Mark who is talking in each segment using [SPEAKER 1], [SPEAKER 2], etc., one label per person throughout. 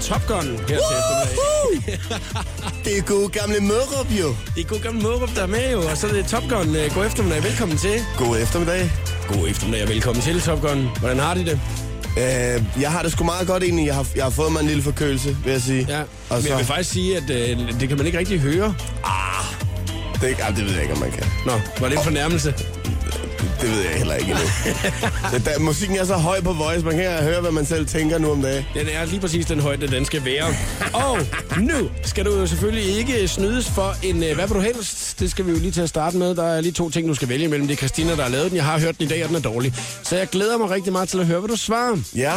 [SPEAKER 1] Top Gun her til eftermiddag.
[SPEAKER 2] Det er gode gamle Mørup jo.
[SPEAKER 1] Det er god gammel Mårup, der er med jo, og så er det Top Gun. Øh, God eftermiddag, velkommen til.
[SPEAKER 2] God eftermiddag.
[SPEAKER 1] God eftermiddag og velkommen til, Top Gun. Hvordan har de det?
[SPEAKER 2] Øh, jeg har det sgu meget godt egentlig. Jeg har, jeg har fået mig en lille forkølelse, vil jeg sige.
[SPEAKER 1] Ja,
[SPEAKER 2] Og
[SPEAKER 1] men
[SPEAKER 2] så,
[SPEAKER 1] jeg vil faktisk sige, at øh, det kan man ikke rigtig høre.
[SPEAKER 2] det, ah, det ved jeg ikke, om man kan.
[SPEAKER 1] Nå, var det en fornærmelse?
[SPEAKER 2] Det ved jeg heller ikke endnu. ja, da, musikken er så høj på voice, man kan ikke høre, hvad man selv tænker nu om dagen.
[SPEAKER 1] Den er lige præcis den højde, den skal være. Og nu skal du jo selvfølgelig ikke snydes for en øh, hvad vil du helst. Det skal vi jo lige til at starte med. Der er lige to ting, du skal vælge imellem. Det er Christina, der har lavet den. Jeg har hørt den i dag, og den er dårlig. Så jeg glæder mig rigtig meget til at høre, hvad du svarer.
[SPEAKER 2] Ja?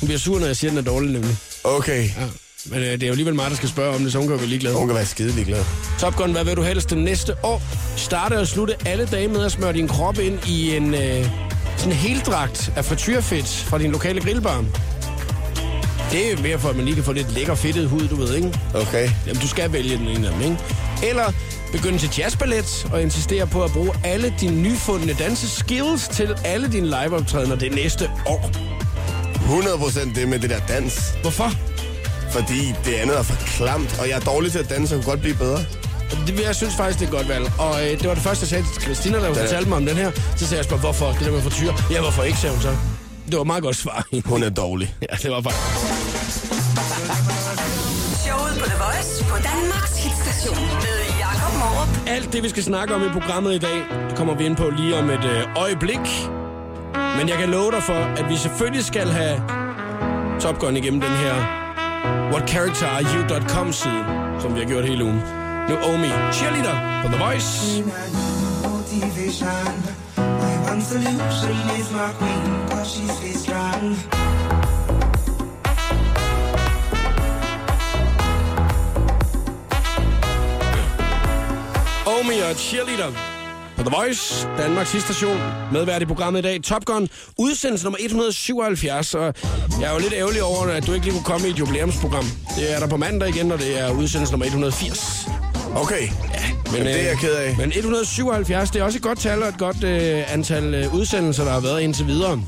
[SPEAKER 1] Hun bliver sur, når jeg siger, at den er dårlig nemlig.
[SPEAKER 2] Okay.
[SPEAKER 1] Ja. Men øh, det er jo alligevel mig, der skal spørge om det, så hun kan jo være ligeglad.
[SPEAKER 2] Hun kan være skidelig glad.
[SPEAKER 1] Top Gun, hvad vil du helst det næste år? Starte og slutte alle dage med at smøre din krop ind i en øh, sådan heldragt af frityrfedt fra din lokale grillbar. Det er mere for, at man lige kan få lidt lækker fedtet hud, du ved, ikke?
[SPEAKER 2] Okay.
[SPEAKER 1] Jamen, du skal vælge den ene af dem, ikke? Eller begynde til jazzballet og insistere på at bruge alle dine nyfundne danseskills til alle dine liveoptrædener det næste år.
[SPEAKER 2] 100% det med det der dans.
[SPEAKER 1] Hvorfor?
[SPEAKER 2] Fordi det andet er for klamt, og jeg er dårlig til at danse, og kunne godt blive bedre.
[SPEAKER 1] Det, jeg synes faktisk, det er et godt valg. Og øh, det var det første, jeg sagde til Christina, der fortalte mig om den her. Så sagde jeg spørge, hvorfor? Det der med frityr. Ja, hvorfor ikke, sagde hun så. Det var et meget godt svar.
[SPEAKER 2] Hun er dårlig.
[SPEAKER 1] ja, det var faktisk.
[SPEAKER 3] Showet på The Voice på Danmarks hitstation med Jakob Morup.
[SPEAKER 1] Alt det, vi skal snakke om i programmet i dag, det kommer vi ind på lige om et øh, øjeblik. Men jeg kan love dig for, at vi selvfølgelig skal have Top Gun igennem den her What Character Are You.com side, som vi har gjort hele ugen. Nu Omi, cheerleader på The Voice.
[SPEAKER 4] motivation. My one solution is my queen, cause she's very strong.
[SPEAKER 1] Omi og cheerleader på The Voice, Danmarks station, medvært i programmet i dag, Top Gun, udsendelse nummer 177, og jeg er jo lidt ærgerlig over, at du ikke lige kunne komme i et jubilæumsprogram. Det er der på mandag igen, og det er udsendelse nummer 180.
[SPEAKER 2] Okay.
[SPEAKER 1] Men,
[SPEAKER 2] Jamen, det er
[SPEAKER 1] øh,
[SPEAKER 2] jeg ked af.
[SPEAKER 1] Men 177, det er også et godt tal og et godt øh, antal øh, udsendelser, der har været indtil videre.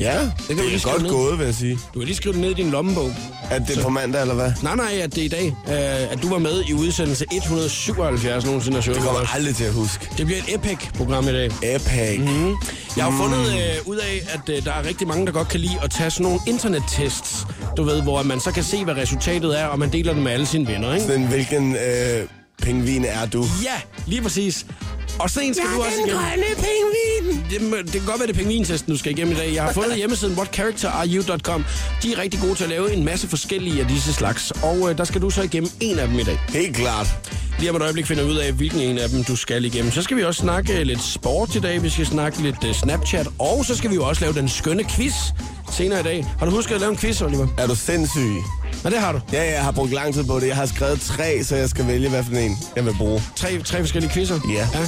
[SPEAKER 2] Ja,
[SPEAKER 1] kan
[SPEAKER 2] det,
[SPEAKER 1] vi
[SPEAKER 2] det
[SPEAKER 1] lige
[SPEAKER 2] er
[SPEAKER 1] skrive
[SPEAKER 2] godt
[SPEAKER 1] ned.
[SPEAKER 2] gået, vil jeg sige.
[SPEAKER 1] Du har lige skrevet det ned i din lommebog.
[SPEAKER 2] At det er på mandag, eller hvad?
[SPEAKER 1] Nej, nej, at det er i dag, øh, at du var med i udsendelse 177 nogensinde af
[SPEAKER 2] Det
[SPEAKER 1] showet.
[SPEAKER 2] kommer jeg aldrig til at huske.
[SPEAKER 1] Det bliver et epic-program i dag.
[SPEAKER 2] Epic.
[SPEAKER 1] Mm. Jeg har jo fundet øh, ud af, at øh, der er rigtig mange, der godt kan lide at tage sådan nogle internettests, du ved, hvor man så kan se, hvad resultatet er, og man deler det med alle sine venner, ikke?
[SPEAKER 2] Sådan, hvilken øh, pingvin er du?
[SPEAKER 1] Ja, lige præcis. Og sen skal du også igennem.
[SPEAKER 2] pingvin!
[SPEAKER 1] Det, må- det kan godt være, det er pingvintesten, du skal igennem i dag. Jeg har fundet hjemmesiden whatcharacterareyou.com. De er rigtig gode til at lave en masse forskellige af disse slags, og øh, der skal du så igennem en af dem i dag.
[SPEAKER 2] Helt klart.
[SPEAKER 1] Lige om et øjeblik finder vi ud af, hvilken en af dem du skal igennem. Så skal vi også snakke øh, lidt sport i dag, vi skal snakke lidt øh, Snapchat, og så skal vi jo også lave den skønne quiz senere i dag. Har du husket at lave en quiz, Oliver?
[SPEAKER 2] Er du sindssyg?
[SPEAKER 1] Ja, det har du.
[SPEAKER 2] Ja, jeg har brugt lang tid på det. Jeg har skrevet tre, så jeg skal vælge, hvad for en jeg vil bruge.
[SPEAKER 1] Tre, tre forskellige quizzer.
[SPEAKER 2] Ja.
[SPEAKER 1] ja.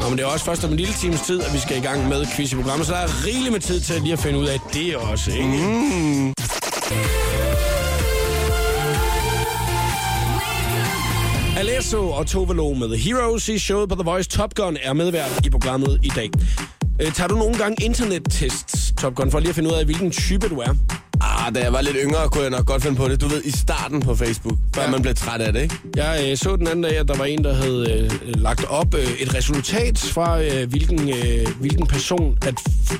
[SPEAKER 1] Nå, men det er også først om en lille times tid, at vi skal i gang med quiz i programmet, så der er rigeligt med tid til lige at finde ud af det også, ikke? Mm. Alesso og Tove Lo med The Heroes i showet på The Voice. Top Gun er medvært i programmet i dag. Øh, tager du nogle gange internettests, Top Gun, for lige at finde ud af, hvilken type du er?
[SPEAKER 2] Ah, da jeg var lidt yngre, kunne jeg nok godt finde på det. Du ved, i starten på Facebook, før
[SPEAKER 1] Ja.
[SPEAKER 2] man blev træt af det, ikke?
[SPEAKER 1] Jeg øh, så den anden dag, at der var en, der havde øh, lagt op øh, et resultat fra, øh, hvilken, øh, hvilken person, at,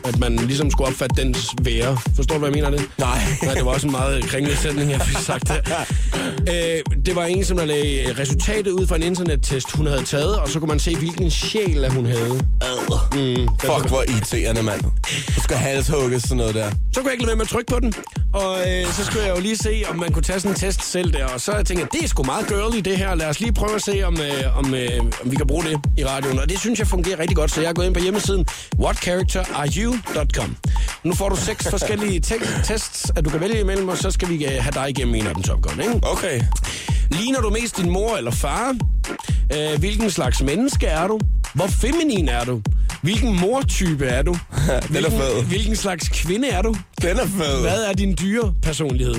[SPEAKER 1] at man ligesom skulle opfatte dens være. Forstår du, hvad jeg mener af det?
[SPEAKER 2] Nej.
[SPEAKER 1] Nej, det var også en meget kringlet sætning, jeg fik sagt der. Øh, det var en, som der lagde øh, resultatet ud fra en internettest, hun havde taget, og så kunne man se, hvilken sjæl at hun havde.
[SPEAKER 2] Ad. Mm, Fuck, hvor irriterende, mand. Du skal halshugges sådan noget der.
[SPEAKER 1] Så kunne jeg ikke lade være med at trykke på den, og øh, så skulle jeg jo lige se, om man kunne tage sådan en test selv der. Og så tænkte jeg, det er sgu meget girly det her, lad os lige prøve at se, om, øh, om, øh, om vi kan bruge det i radioen. Og det synes jeg fungerer rigtig godt, så jeg er gået ind på hjemmesiden whatcharacterareyou.com. Nu får du seks forskellige te- tests, at du kan vælge imellem, og så skal vi øh, have dig igennem en af dem, Top Gun, ikke?
[SPEAKER 2] Okay.
[SPEAKER 1] Ligner du mest din mor eller far? Øh, hvilken slags menneske er du? Hvor feminin er du? Hvilken mortype er du? Hvilken,
[SPEAKER 2] fed.
[SPEAKER 1] hvilken slags kvinde er du?
[SPEAKER 2] Den er fed.
[SPEAKER 1] Hvad er din dyre personlighed?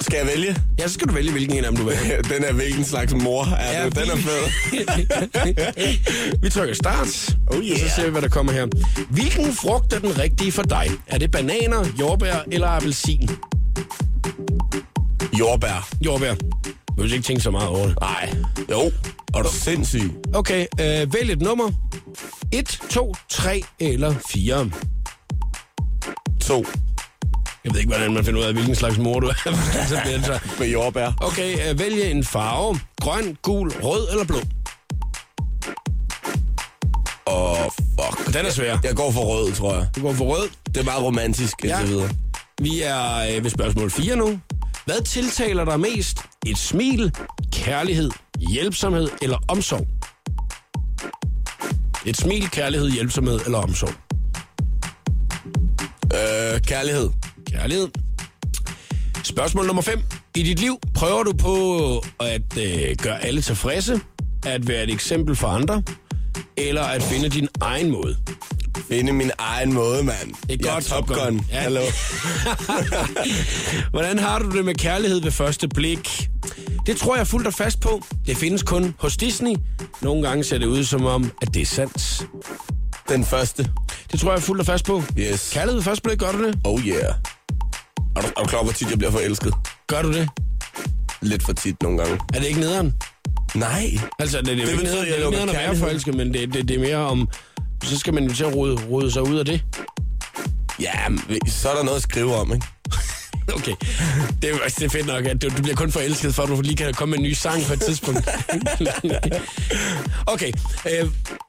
[SPEAKER 2] Skal jeg vælge?
[SPEAKER 1] Ja, så skal du vælge, hvilken en af dem du vil. have.
[SPEAKER 2] Den er hvilken slags mor er
[SPEAKER 1] Ja,
[SPEAKER 2] du? Den er
[SPEAKER 1] vi-
[SPEAKER 2] fed.
[SPEAKER 1] vi trykker start,
[SPEAKER 2] Oh yeah.
[SPEAKER 1] og så ser vi, hvad der kommer her. Hvilken frugt er den rigtige for dig? Er det bananer, jordbær eller appelsin?
[SPEAKER 2] Jordbær.
[SPEAKER 1] Jordbær. Du vil ikke tænke så meget over det.
[SPEAKER 2] Nej. Jo. Er du sindssyg?
[SPEAKER 1] Okay, øh, vælg et nummer. 1, 2, 3 eller 4.
[SPEAKER 2] To.
[SPEAKER 1] Jeg ved ikke, hvordan man finder ud af, hvilken slags mor du er. Så bliver det så.
[SPEAKER 2] Med jordbær.
[SPEAKER 1] okay, øh, vælg en farve. Grøn, gul, rød eller blå.
[SPEAKER 2] Fuck.
[SPEAKER 1] Den er svær.
[SPEAKER 2] Jeg går for rød, tror jeg.
[SPEAKER 1] Du går for rød.
[SPEAKER 2] Det er meget romantisk, ja.
[SPEAKER 1] Ja.
[SPEAKER 2] indtil videre.
[SPEAKER 1] Vi er øh, ved spørgsmål 4 nu. Hvad tiltaler dig mest? Et smil, kærlighed, hjælpsomhed eller omsorg? Et smil, kærlighed, hjælpsomhed eller omsorg?
[SPEAKER 2] Øh, kærlighed.
[SPEAKER 1] Kærlighed. Spørgsmål nummer 5. I dit liv prøver du på at øh, gøre alle tilfredse, at være et eksempel for andre, eller at finde din egen måde?
[SPEAKER 2] Finde min egen måde, mand.
[SPEAKER 1] Det er
[SPEAKER 2] Jeg
[SPEAKER 1] godt,
[SPEAKER 2] Top
[SPEAKER 1] Top Gun.
[SPEAKER 2] Gun.
[SPEAKER 1] Ja.
[SPEAKER 2] Hallo.
[SPEAKER 1] Hvordan har du det med kærlighed ved første blik? Det tror jeg fuldt og fast på. Det findes kun hos Disney. Nogle gange ser det ud som om, at det er sandt.
[SPEAKER 2] Den første.
[SPEAKER 1] Det tror jeg fuldt og fast på.
[SPEAKER 2] Yes.
[SPEAKER 1] Kærlighed ved første blik, gør du det?
[SPEAKER 2] Oh yeah. Er du, er du klar, over, hvor tit jeg bliver forelsket?
[SPEAKER 1] Gør du det?
[SPEAKER 2] Lidt for tit nogle gange.
[SPEAKER 1] Er det ikke nederen?
[SPEAKER 2] Nej.
[SPEAKER 1] Altså, det, det, det,
[SPEAKER 2] betyder,
[SPEAKER 1] det, det,
[SPEAKER 2] jeg
[SPEAKER 1] det er
[SPEAKER 2] lukker
[SPEAKER 1] ikke nederen at være
[SPEAKER 2] kærlighed.
[SPEAKER 1] forelsket, men det, det, det er mere om... Så skal man jo til at rode, rode sig ud af det.
[SPEAKER 2] Ja, men så er der noget at skrive om, ikke?
[SPEAKER 1] Okay. Det er, det er fedt nok, at du, du bliver kun forelsket, for du lige kan komme med en ny sang på et tidspunkt. okay. Øh,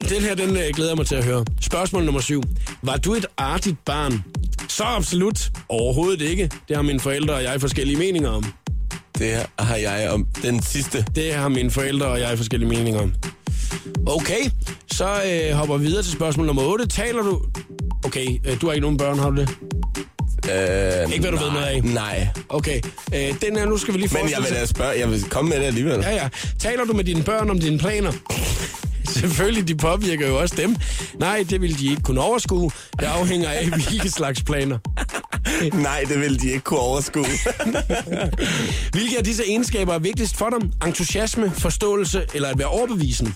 [SPEAKER 1] den her, den øh, glæder jeg mig til at høre. Spørgsmål nummer syv. Var du et artigt barn? Så absolut. Overhovedet ikke. Det har mine forældre og jeg forskellige meninger om.
[SPEAKER 2] Det har jeg om den sidste.
[SPEAKER 1] Det har mine forældre og jeg forskellige meninger om. Okay, så øh, hopper vi videre til spørgsmål nummer 8. Taler du... Okay, øh, du har ikke nogen børn, har du det?
[SPEAKER 2] Øh,
[SPEAKER 1] Ikke hvad du ved noget af.
[SPEAKER 2] Nej.
[SPEAKER 1] Okay, øh, den her, nu skal vi lige
[SPEAKER 2] Men
[SPEAKER 1] forestille
[SPEAKER 2] jeg vil
[SPEAKER 1] os-
[SPEAKER 2] da spørge, jeg vil komme med det alligevel.
[SPEAKER 1] Ja, ja. Taler du med dine børn om dine planer? Selvfølgelig, de påvirker jo også dem. Nej, det vil de ikke kunne overskue. Det afhænger af, hvilke slags planer.
[SPEAKER 2] Nej, det vil de ikke kunne overskue.
[SPEAKER 1] Hvilke af disse egenskaber er vigtigst for dem? Entusiasme, forståelse eller at være overbevisende?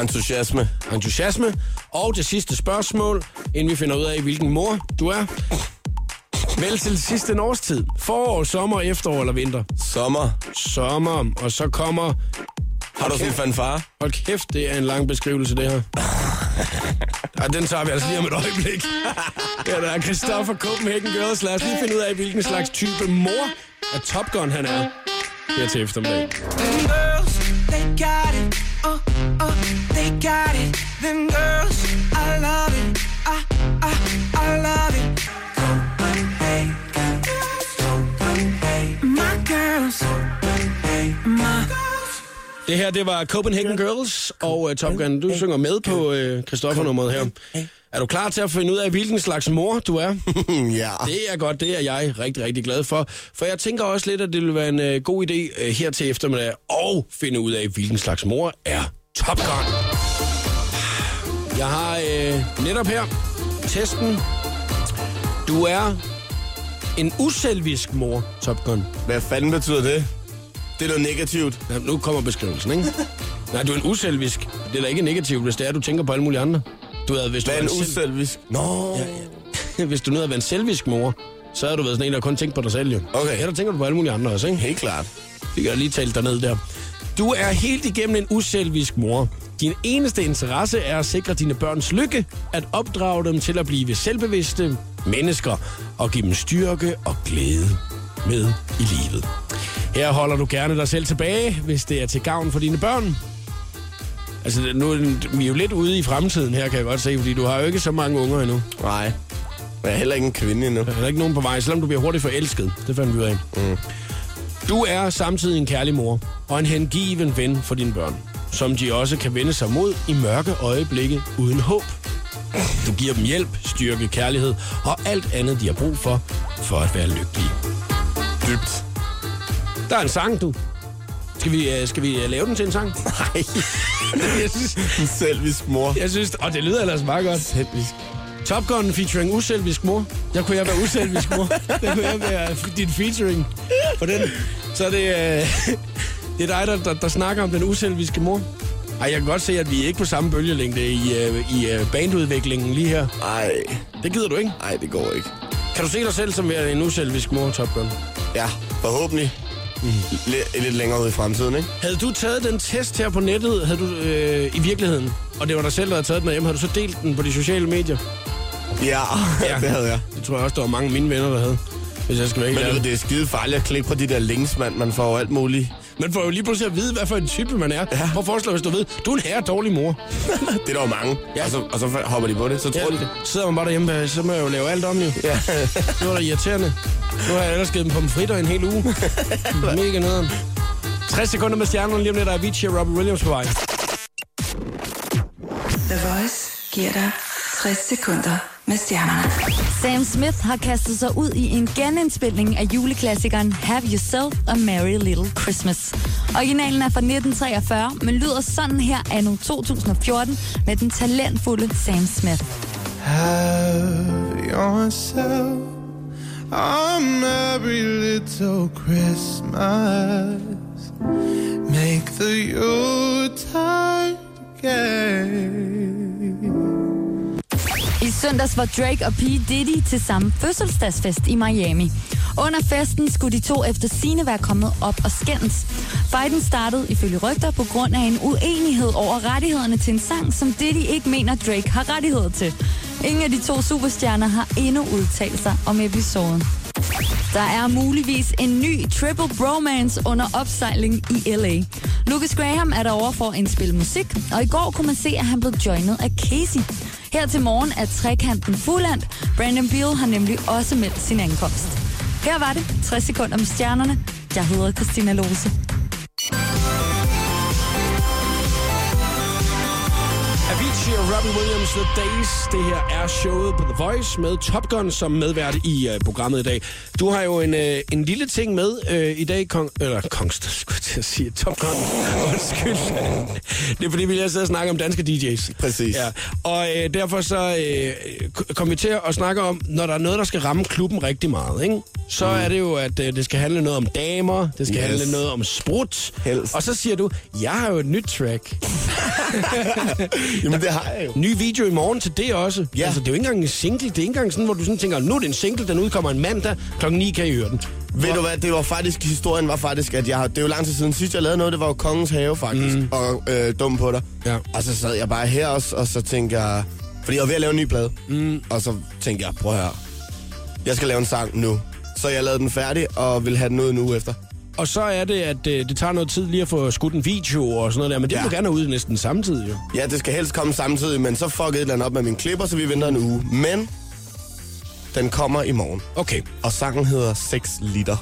[SPEAKER 2] Entusiasme.
[SPEAKER 1] Entusiasme. Og det sidste spørgsmål, inden vi finder ud af, hvilken mor du er. Vel til sidste en årstid. Forår, sommer, efterår eller vinter?
[SPEAKER 2] Sommer.
[SPEAKER 1] Sommer, og så kommer...
[SPEAKER 2] Har du sådan en fanfare?
[SPEAKER 1] Hold kæft, det er en lang beskrivelse, det her. Og den tager vi altså lige om et øjeblik. Ja, der er Christoffer Copenhagen Girls. Lad os lige finde ud af, hvilken slags type mor af Top Gun han er her til eftermiddag.
[SPEAKER 4] Them girls, they got it. Uh, uh, they got it. Them girls, I love it. I, I, I love it. Copenhagen, Copenhagen,
[SPEAKER 3] My girls, my
[SPEAKER 1] Det her, det var Copenhagen Girls og uh, Top Gun. Du synger med på uh, Christoffer-nummeret her. Er du klar til at finde ud af, hvilken slags mor du er?
[SPEAKER 2] ja.
[SPEAKER 1] Det er godt, det er jeg rigtig, rigtig glad for. For jeg tænker også lidt, at det vil være en øh, god idé øh, her til eftermiddag at finde ud af, hvilken slags mor er Top Gun. Jeg har øh, netop her testen. Du er en uselvisk mor, Top Gun.
[SPEAKER 2] Hvad fanden betyder det? Det er noget negativt.
[SPEAKER 1] Nå, Nu kommer beskrivelsen, ikke? Nej, du er en uselvisk. Det er da ikke negativt, hvis det er, at du tænker på alle mulige andre. Du havde, hvis du
[SPEAKER 2] Hvad er
[SPEAKER 1] var
[SPEAKER 2] en
[SPEAKER 1] selv-
[SPEAKER 2] uselvisk? Nå. Ja, ja.
[SPEAKER 1] hvis du nu havde været en selvisk mor, så havde du været sådan en, der kun tænkte på dig selv, jo.
[SPEAKER 2] Okay.
[SPEAKER 1] Ja, der tænker du på alle mulige andre også, ikke?
[SPEAKER 2] Helt klart.
[SPEAKER 1] Vi kan da lige tale dig ned der. Du er helt igennem en uselvisk mor. Din eneste interesse er at sikre dine børns lykke, at opdrage dem til at blive selvbevidste mennesker og give dem styrke og glæde med i livet. Her holder du gerne dig selv tilbage, hvis det er til gavn for dine børn. Altså, nu er den- vi er jo lidt ude i fremtiden her, kan jeg godt se, fordi du har jo ikke så mange unger endnu.
[SPEAKER 2] Nej. Men jeg er heller ikke en kvinde endnu.
[SPEAKER 1] Der er ikke nogen på vej, selvom du bliver hurtigt forelsket. Det fandt vi ud af. Mm. Du er samtidig en kærlig mor og en hengiven ven for dine børn, som de også kan vende sig mod i mørke øjeblikke uden håb. Du giver dem hjælp, styrke, kærlighed og alt andet, de har brug for, for at være lykkelige.
[SPEAKER 2] Dybt.
[SPEAKER 1] Der er en sang, du. Skal vi, øh, skal vi øh, lave den til en sang?
[SPEAKER 2] Nej.
[SPEAKER 1] Jeg synes,
[SPEAKER 2] en selvisk mor.
[SPEAKER 1] jeg synes og det lyder ellers meget godt.
[SPEAKER 2] Selvisk.
[SPEAKER 1] Top Gun featuring uselvisk mor. Der kunne jeg være uselvisk mor. Der kunne jeg være f- din featuring på den. Så er det, øh, det er dig, der, der, der snakker om den uselviske mor. Ej, jeg kan godt se, at vi er ikke på samme bølgelængde i, øh, i øh, bandudviklingen lige her.
[SPEAKER 2] Ej.
[SPEAKER 1] Det gider du ikke.
[SPEAKER 2] Ej, det går ikke.
[SPEAKER 1] Kan du se dig selv som værende en uselvisk mor, Top Gun?
[SPEAKER 2] Ja, forhåbentlig. Lidt, lidt længere ud i fremtiden, ikke?
[SPEAKER 1] Havde du taget den test her på nettet, havde du øh, i virkeligheden, og det var dig selv, der havde taget den hjem, havde du så delt den på de sociale medier?
[SPEAKER 2] Ja, ja. det havde jeg.
[SPEAKER 1] Det tror jeg også, der var mange af mine venner, der havde. Hvis jeg skal være helt
[SPEAKER 2] Men du ved,
[SPEAKER 1] ærlig.
[SPEAKER 2] det er skide farligt at klikke på de der links, mand. Man får jo alt muligt.
[SPEAKER 1] Man får jo lige pludselig at vide, hvad for en type man er. Ja. Prøv at forestille dig, hvis du ved, du er en herre dårlig mor.
[SPEAKER 2] Det er der jo mange.
[SPEAKER 1] Ja.
[SPEAKER 2] Ja. Og, så, og så hopper de på det, så tror ja. de det.
[SPEAKER 1] Sidder man bare derhjemme, øh, så må jeg jo lave alt om jo.
[SPEAKER 2] Ja.
[SPEAKER 1] Det var da irriterende. Nu har jeg ellers givet dem pomfritter i en hel uge. Mega nederen. 60 sekunder med stjernerne lige om lidt, der er Avicii og Robin Williams på vej.
[SPEAKER 3] The Voice giver dig 60 sekunder med stjernerne.
[SPEAKER 5] Sam Smith har kastet sig ud i en genindspilning af juleklassikeren Have Yourself a Merry Little Christmas. Originalen er fra 1943, men lyder sådan her anno 2014 med den talentfulde Sam Smith.
[SPEAKER 6] Have yourself a merry little Christmas. Make the Yuletide gay.
[SPEAKER 5] I søndags var Drake og P. Diddy til samme fødselsdagsfest i Miami. Under festen skulle de to efter sine være kommet op og skændes. Fighten startede ifølge rygter på grund af en uenighed over rettighederne til en sang, som Diddy ikke mener Drake har rettigheder til. Ingen af de to superstjerner har endnu udtalt sig om episoden. Der er muligvis en ny triple bromance under opsejling i L.A. Lucas Graham er derovre for at indspille musik, og i går kunne man se, at han blev joinet af Casey. Her til morgen er trekanten fuldendt. Brandon Beal har nemlig også meldt sin ankomst. Her var det 60 sekunder med stjernerne. Jeg hedder Christina Lose.
[SPEAKER 1] Avicii og Robin Williams, The Days. Det her er showet på The Voice med Top Gun som medvært i øh, programmet i dag. Du har jo en, øh, en lille ting med øh, i dag, Kong... Eller Kongst, skulle jeg til at sige. Top Gun. Undskyld. Det er fordi, vi lige har siddet og snakket om danske DJ's.
[SPEAKER 2] Præcis.
[SPEAKER 1] Ja. Og øh, derfor så øh, k- kommer vi til at snakke om, når der er noget, der skal ramme klubben rigtig meget, ikke? så mm. er det jo, at øh, det skal handle noget om damer, det skal yes.
[SPEAKER 2] Yes.
[SPEAKER 1] handle noget om sprut.
[SPEAKER 2] Helst.
[SPEAKER 1] Og så siger du, jeg har jo et nyt track.
[SPEAKER 2] Jamen, det har jeg jo.
[SPEAKER 1] Ny video i morgen til det også.
[SPEAKER 2] Ja.
[SPEAKER 1] Altså, det er jo ikke engang en single. Det er ikke engang sådan, hvor du sådan tænker, nu er det en single, den udkommer en mandag. Klokken 9 kan I høre den.
[SPEAKER 2] Ved du hvad, det var faktisk, historien var faktisk, at jeg har, det er jo lang tid siden sidst, jeg lavede noget, det var jo Kongens Have faktisk, mm. og øh, dum på dig.
[SPEAKER 1] Ja.
[SPEAKER 2] Og så sad jeg bare her også, og så tænkte jeg, fordi jeg var ved at lave en ny plade, mm. og så tænkte jeg, prøv her, jeg skal lave en sang nu. Så jeg lavede den færdig, og vil have den ud en uge efter.
[SPEAKER 1] Og så er det, at øh, det tager noget tid lige at få skudt en video og sådan noget der, men det ja.
[SPEAKER 2] Ja.
[SPEAKER 1] vil du gerne have ud næsten samtidig jo.
[SPEAKER 2] Ja, det skal helst komme samtidig, men så fuckede et eller andet op med min klipper, så vi venter en uge. Men den kommer i morgen,
[SPEAKER 1] Okay.
[SPEAKER 2] og sangen hedder 6 liter.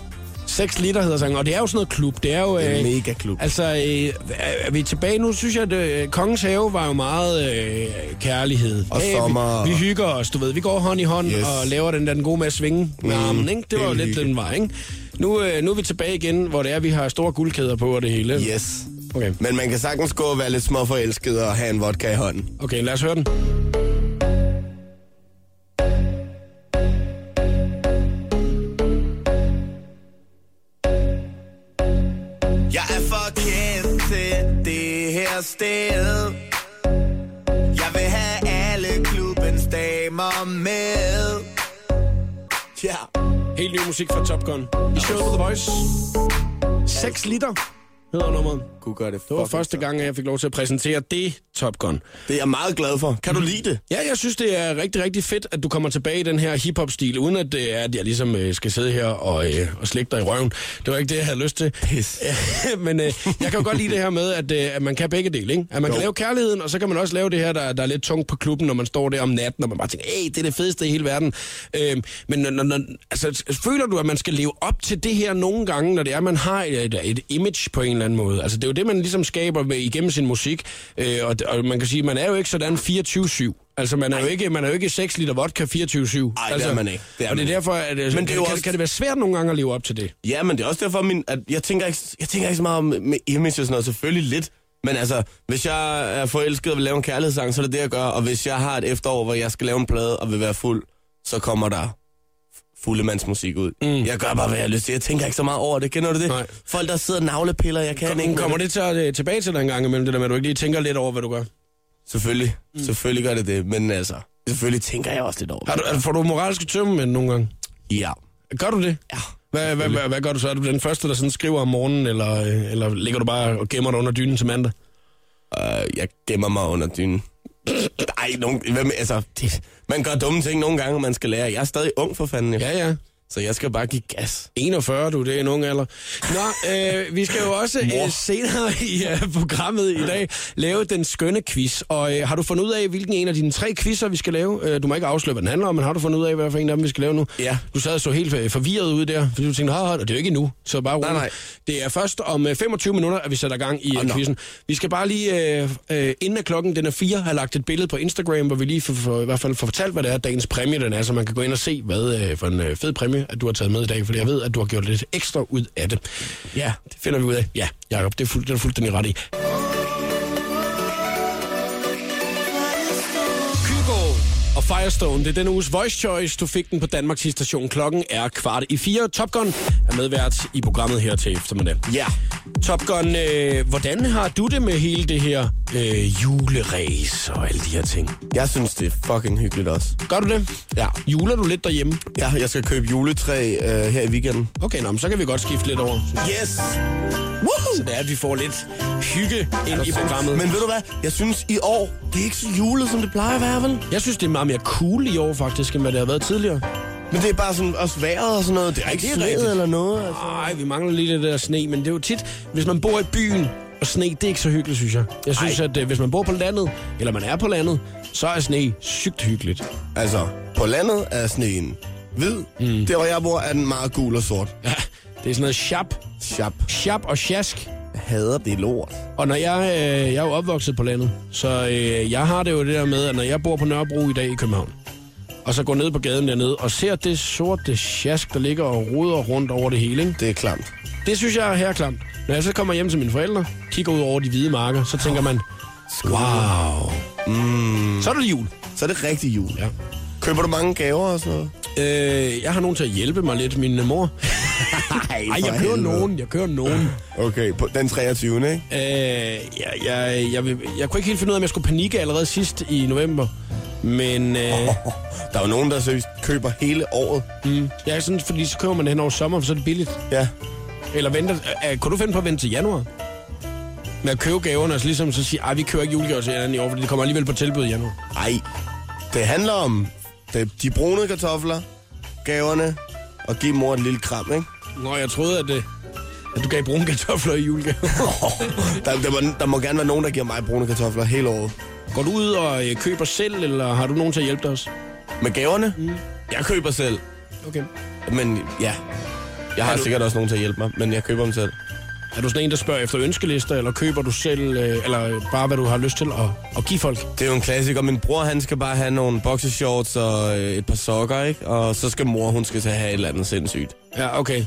[SPEAKER 1] 6 liter hedder sangen, og det er jo sådan noget klub. Det er jo...
[SPEAKER 2] Det er en megaklub.
[SPEAKER 1] Altså, øh, er, er vi tilbage nu? Synes jeg, at øh, Kongens Have var jo meget øh, kærlighed.
[SPEAKER 2] Og sommer.
[SPEAKER 1] Vi, vi hygger os, du ved. Vi går hånd i hånd yes.
[SPEAKER 2] Yes.
[SPEAKER 1] og laver den der den gode med at svinge med
[SPEAKER 2] Mm,
[SPEAKER 1] armen, ikke? Det var jo
[SPEAKER 2] helt
[SPEAKER 1] lidt
[SPEAKER 2] hygge.
[SPEAKER 1] den vej, ikke? Nu, øh, nu er vi tilbage igen, hvor det er, vi har store guldkæder på og det hele.
[SPEAKER 2] Yes.
[SPEAKER 1] Okay.
[SPEAKER 2] Men man kan sagtens gå og være lidt småforelsket og have en vodka i hånden.
[SPEAKER 1] Okay, lad os høre den.
[SPEAKER 6] Jeg er for kendt til det her sted Jeg vil have alle klubbens damer med Ja yeah.
[SPEAKER 1] Helt ny musik fra Top Gun. I showet på The Voice. 6 liter hedder nummeret.
[SPEAKER 2] Kunne gøre det
[SPEAKER 1] Det var første gang, at jeg fik lov til at præsentere det Top Gun.
[SPEAKER 2] Det er jeg meget glad for. Kan du lide det?
[SPEAKER 1] Ja, jeg synes, det er rigtig, rigtig fedt, at du kommer tilbage i den her hip-hop-stil, uden at, det er, at jeg ligesom øh, skal sidde her og, øh, og slikke dig i røven. Det var ikke det, jeg havde lyst til.
[SPEAKER 2] Pis.
[SPEAKER 1] Men øh, jeg kan jo godt lide det her med, at, øh, at man kan begge dele. Ikke? At man jo. kan lave kærligheden, og så kan man også lave det her, der, der er lidt tungt på klubben, når man står der om natten, og man bare tænker, hey, det er det fedeste i hele verden. Øh, men når, når- når, altså, føler du, at man skal leve op til det her nogle gange, når det er, at man har et, et image på en eller anden måde? Altså, det er jo det, man ligesom skaber med, igennem sin musik. Øh, og, og man kan sige, man er jo ikke sådan 24-7. Altså, man er, jo ikke, man er jo ikke 6 liter vodka 24-7.
[SPEAKER 2] er
[SPEAKER 1] altså,
[SPEAKER 2] man ikke. Det er
[SPEAKER 1] og det
[SPEAKER 2] man
[SPEAKER 1] er
[SPEAKER 2] ikke.
[SPEAKER 1] derfor, at, men
[SPEAKER 2] det er
[SPEAKER 1] det kan,
[SPEAKER 2] jo
[SPEAKER 1] også...
[SPEAKER 2] også-
[SPEAKER 1] kan det være svært nogle gange at leve op til det?
[SPEAKER 2] Ja, men det er også derfor, min, at jeg tænker, ikke, jeg tænker ikke så meget om med image og sådan noget. Selvfølgelig lidt. Men altså, hvis jeg er forelsket og vil lave en kærlighedssang, så er det det, jeg gør. Og hvis jeg har et efterår, hvor jeg skal lave en plade og vil være fuld, så kommer der f- fuldemandsmusik ud. Mm. Jeg gør bare, hvad jeg har lyst til. Jeg tænker ikke så meget over det. Kender du det?
[SPEAKER 1] Nej.
[SPEAKER 2] Folk, der sidder og navlepiller, jeg kan ikke.
[SPEAKER 1] Kom,
[SPEAKER 2] med
[SPEAKER 1] kommer det til at, øh, tilbage til dig en gang imellem, det der med, at du ikke lige tænker lidt over, hvad du gør?
[SPEAKER 2] Selvfølgelig. Mm. Selvfølgelig gør det det. Men altså, selvfølgelig tænker jeg også lidt over
[SPEAKER 1] Har
[SPEAKER 2] det.
[SPEAKER 1] du, altså, får du moralske tømme med nogle gange?
[SPEAKER 2] Ja.
[SPEAKER 1] Gør du det?
[SPEAKER 2] Ja.
[SPEAKER 1] Hvad, hvad, hvad, hvad gør du så? Er du den første, der sådan skriver om morgenen, eller, øh, eller ligger du bare og gemmer dig under dynen til mandag?
[SPEAKER 2] Øh, jeg gemmer mig under dynen. Ej, nogen, hvem, altså, det, man gør dumme ting nogle gange, og man skal lære. Jeg er stadig ung for fanden, jo.
[SPEAKER 1] Ja, ja.
[SPEAKER 2] så jeg skal bare give gas.
[SPEAKER 1] 41, du, det er en ung alder. Nå, øh, vi skal jo også øh, senere i øh, programmet i dag lave den skønne quiz. Og øh, har du fundet ud af, hvilken en af dine tre quizzer, vi skal lave? Øh, du må ikke afsløre, hvad den handler om, men har du fundet ud af, hvad for en af dem, vi skal lave nu?
[SPEAKER 2] Ja.
[SPEAKER 1] Du sad og så helt øh, forvirret ud der, fordi du tænkte, har, og det er jo ikke endnu, så bare rolig.
[SPEAKER 2] nej.
[SPEAKER 1] Det er først om øh, 25 minutter, at vi sætter gang i oh,
[SPEAKER 2] nå.
[SPEAKER 1] quizzen. Vi skal bare lige, øh, øh, inden at klokken den er fire, have lagt et billede på Instagram, hvor vi lige for, for, i hvert fald får fortalt, hvad det er, dagens præmie den er, så man kan gå ind og se, hvad øh, for en øh, fed præmie, at du har taget med i dag, fordi jeg ved, at du har gjort lidt ekstra ud af det. Ja, det finder vi ud af. Ja, Jacob, det er fuldt, det er fuldt den i ret i. Kygo og Firestone, det er denne uges Voice Choice. Du fik den på Danmarks station. Klokken er kvart i fire. Top Gun er medvært i programmet her til eftermiddag.
[SPEAKER 2] Ja.
[SPEAKER 1] Top Gun, øh, hvordan har du det med hele det her øh, julerace og alle de her ting?
[SPEAKER 2] Jeg synes, det er fucking hyggeligt også.
[SPEAKER 1] Gør du det?
[SPEAKER 2] Ja.
[SPEAKER 1] Juler du lidt derhjemme?
[SPEAKER 2] Ja, jeg skal købe juletræ øh, her i weekenden.
[SPEAKER 1] Okay, nå, men så kan vi godt skifte lidt over.
[SPEAKER 2] Yes!
[SPEAKER 1] Så det er, at vi får lidt hygge ind i programmet. Altså, Men
[SPEAKER 2] Men ved du hvad? Jeg synes, i år, det er ikke så julet, som det plejer at være, vel?
[SPEAKER 1] jeg synes, det er meget mere cool i år faktisk, end hvad det har været tidligere.
[SPEAKER 2] Men det er bare sådan, også vejret og sådan noget. Det er ikke
[SPEAKER 1] det er
[SPEAKER 2] sneet
[SPEAKER 1] rigtigt.
[SPEAKER 2] eller noget. Altså.
[SPEAKER 1] Nej, vi mangler lige det der sne, men det er jo tit, hvis man bor i byen, og sne, det er ikke så hyggeligt, synes jeg. Jeg synes, Ej. at øh, hvis man bor på landet, eller man er på landet, så er sne sygt hyggeligt.
[SPEAKER 2] altså, på landet er sneen hvid. Mm. Der, hvor jeg bor, er den meget gul og sort.
[SPEAKER 1] Ja, det er sådan noget sharp,
[SPEAKER 2] Chap.
[SPEAKER 1] sharp og sjask.
[SPEAKER 2] Jeg hader det lort.
[SPEAKER 1] Og når jeg, øh, jeg er jo opvokset på landet, så øh, jeg har det jo det der med, at når jeg bor på Nørrebro i dag i København, og så går ned på gaden dernede og ser det sorte sjask, der ligger og roder rundt over det hele, ikke?
[SPEAKER 2] Det er klamt.
[SPEAKER 1] det synes jeg er herklamt. Når jeg så kommer hjem til mine forældre, kigger ud over de hvide marker, så tænker man, wow, mm. så er det jul.
[SPEAKER 2] Så er det rigtig jul.
[SPEAKER 1] Ja.
[SPEAKER 2] Køber du mange gaver og sådan noget?
[SPEAKER 1] Øh, jeg har nogen til at hjælpe mig lidt, min øh, mor. Ej, jeg kører nogen, jeg kører nogen.
[SPEAKER 2] Okay, på den 23. ikke?
[SPEAKER 1] Øh, jeg, jeg, jeg, vil- jeg kunne ikke helt finde ud af, om jeg skulle panikke allerede sidst i november. Men øh,
[SPEAKER 2] Oh, der er jo nogen, der seriøst køber hele året.
[SPEAKER 1] mm, jeg er sådan, fordi så køber man det hen over sommer, for så er det billigt.
[SPEAKER 2] Ja.
[SPEAKER 1] Eller venter, øh, kunne du finde på at vente til januar? Med at købe gaverne, og så ligesom så sige, ej, vi køber ikke julegaver til hinanden i år, fordi det kommer alligevel på tilbud i januar.
[SPEAKER 2] Ej, det handler om det, de brune kartofler, gaverne og give mor et lille kram, ikke?
[SPEAKER 1] Nå, jeg troede, at, øh, at du gav brune kartofler i julegave.
[SPEAKER 2] Der, der, må, der må gerne være nogen, der giver mig brune kartofler hele året.
[SPEAKER 1] Går du ud og øh, køber selv, eller har du nogen til at hjælpe dig også?
[SPEAKER 2] Med gaverne? Mm. Jeg køber selv.
[SPEAKER 1] Okay.
[SPEAKER 2] Men ja, jeg har
[SPEAKER 1] Er du-
[SPEAKER 2] sikkert også nogen til at hjælpe mig, men jeg køber dem selv.
[SPEAKER 1] Er du sådan en, der spørger efter ønskelister, eller køber du selv, øh, eller bare hvad du har lyst til at, at give folk?
[SPEAKER 2] Det er jo en klassiker. Min bror, han skal bare have nogle boxershorts og øh, et par sokker, ikke? Og så skal mor, hun skal så have et eller andet sindssygt.
[SPEAKER 1] Ja, okay.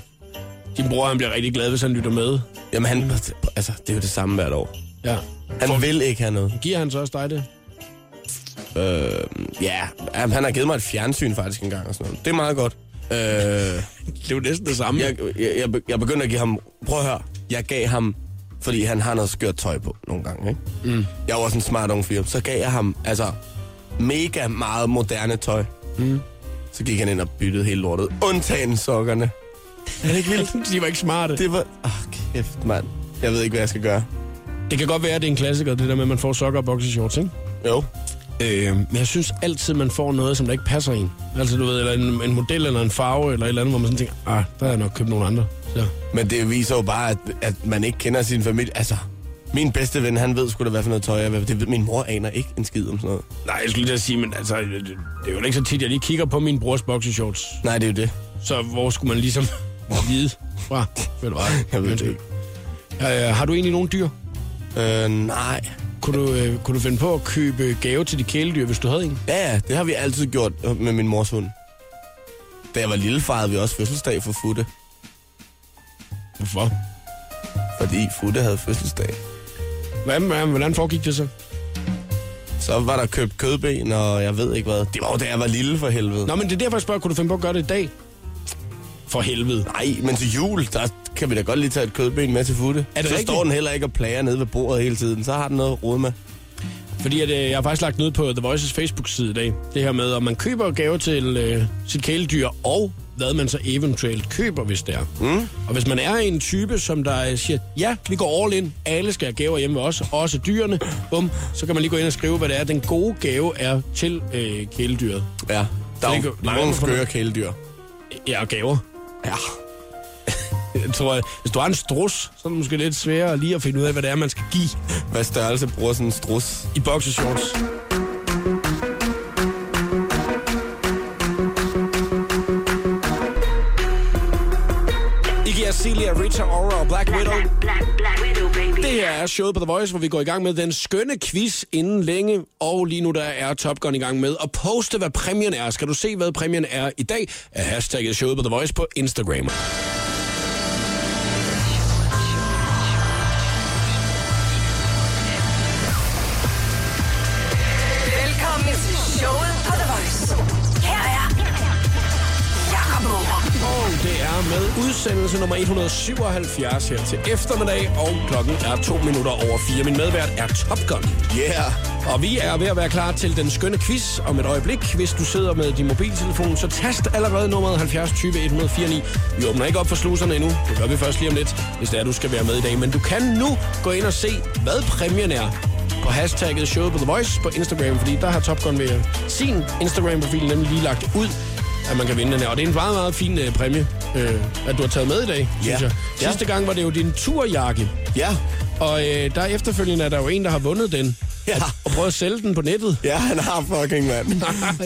[SPEAKER 1] Din bror, han bliver rigtig glad, hvis han lytter med.
[SPEAKER 2] Jamen, han, altså, det er jo det samme hvert år.
[SPEAKER 1] Ja.
[SPEAKER 2] Han For... vil ikke have noget.
[SPEAKER 1] Giver han så også dig det?
[SPEAKER 2] Øh, ja, jamen, han har givet mig et fjernsyn faktisk engang og sådan noget. Det er meget godt. Øh,
[SPEAKER 1] Det er jo næsten det samme.
[SPEAKER 2] jeg, jeg, jeg, be- jeg begyndte at give ham... Prøv at høre. Jeg gav ham... Fordi han har noget skørt tøj på nogle gange, ikke? Mm. Jeg var også en smart ung fyr. Så gav jeg ham altså mega meget moderne tøj. Mm. Så gik han ind og byttede hele lortet. Undtagen sokkerne.
[SPEAKER 1] Er det ikke vildt? De var ikke smarte. Det...
[SPEAKER 2] Det var... Åh, oh, kæft, mand. Jeg ved ikke, hvad jeg skal gøre.
[SPEAKER 1] det kan godt være, at det er en klassiker, det der med, at man får sokker og boxershorts, ikke?
[SPEAKER 2] Jo.
[SPEAKER 1] Øh, men jeg synes altid, man får noget, som der ikke passer en. Altså, du ved, eller en, en model eller en farve eller et eller andet, hvor man sådan tænker, ah, der har jeg nok købt nogle andre. Så.
[SPEAKER 2] Men det viser jo bare, at, at man ikke kender sin familie. Altså, min bedste ven, han ved sgu da, hvad for noget tøj jeg vil. Det ved min mor aner ikke en skid om sådan noget.
[SPEAKER 1] Nej, jeg skulle lige til at sige, men altså, det, det er jo ikke så tit, jeg lige kigger på min brors boxershorts.
[SPEAKER 2] Nej, det er jo det.
[SPEAKER 1] Så hvor skulle man ligesom vide fra? Ved du hvad?
[SPEAKER 2] Jeg ved det ikke.
[SPEAKER 1] Øh, har du egentlig nogle dyr?
[SPEAKER 2] Øh, nej.
[SPEAKER 1] Kunne du, øh, kunne du finde på at købe gave til de kæledyr, hvis du havde en?
[SPEAKER 2] Ja, ja, det har vi altid gjort øh, med min mors hund. Da jeg var lille, fejrede vi også fødselsdag for Futte.
[SPEAKER 1] Hvorfor?
[SPEAKER 2] Fordi Futte havde fødselsdag.
[SPEAKER 1] Hvad, hvad, hvordan foregik det så?
[SPEAKER 2] Så var der købt kødben, og jeg ved ikke hvad. Det var jo, da jeg var lille for helvede.
[SPEAKER 1] Nå, men det er derfor, jeg spørger, kunne du finde på at gøre det i dag? For helvede.
[SPEAKER 2] Nej, men til jul, der kan vi da godt lige tage et kødben med til Futte.
[SPEAKER 1] Er det
[SPEAKER 2] så
[SPEAKER 1] rigtigt?
[SPEAKER 2] står den heller ikke og plager nede ved bordet hele tiden. Så har den noget at rode med.
[SPEAKER 1] Fordi at, øh, jeg har faktisk lagt noget på The Voices Facebook-side i dag. Det her med, om man køber gaver til øh, sit kæledyr og hvad man så eventuelt køber, hvis det er. Mm. Og hvis man er en type, som der øh, siger, ja, vi går all in, alle skal have gaver hjemme også, også dyrene, bum, så kan man lige gå ind og skrive, hvad det er, den gode gave er til øh, kæledyret.
[SPEAKER 2] Ja, der er
[SPEAKER 1] Det
[SPEAKER 2] jo
[SPEAKER 1] kan- det kan-
[SPEAKER 2] mange skøre kæledyr.
[SPEAKER 1] Ja, og gaver.
[SPEAKER 2] Ja.
[SPEAKER 1] Jeg tror, jeg, hvis du har en strus, så er det måske lidt sværere lige at finde ud af, hvad det er, man skal give
[SPEAKER 2] Hvad størrelse bruger sådan en strus?
[SPEAKER 1] i boxershorts. Iggy Azalea, Rita Ora og Black Widow. Det her er showet på The Voice, hvor vi går i gang med den skønne quiz inden længe. Og lige nu der er Top Gun i gang med at poste, hvad præmien er. Skal du se, hvad præmien er i dag? Er hashtagget showet på The Voice på Instagram.
[SPEAKER 3] Velkommen til showet på The Voice. Her er Jakob Morup.
[SPEAKER 1] Og det er med udsendelse nummer 177 her til eftermiddag, og klokken er to minutter over fire. Min medvært er Top Gun.
[SPEAKER 2] Yeah!
[SPEAKER 1] Og vi er ved at være klar til den skønne quiz om et øjeblik. Hvis du sidder med din mobiltelefon, så tast allerede nummeret 70 20 149. Vi åbner ikke op for sluserne endnu. Det gør vi først lige om lidt, hvis det er, du skal være med i dag. Men du kan nu gå ind og se, hvad præmien er på hashtagget showet på The Voice på Instagram, fordi der har Top Gun ved sin Instagram-profil nemlig lige lagt ud, at man kan vinde den her. Og det er en meget, meget fin øh, præmie, øh, at du har taget med i dag, synes
[SPEAKER 2] Ja.
[SPEAKER 1] jeg.
[SPEAKER 2] Ja.
[SPEAKER 1] Sidste gang var det jo din turjakke,
[SPEAKER 2] Ja,
[SPEAKER 1] og øh, der efterfølgende er der jo en, der har vundet den.
[SPEAKER 2] Ja.
[SPEAKER 1] Og, og prøvet at sælge den på nettet.
[SPEAKER 2] ja han har fucking mand.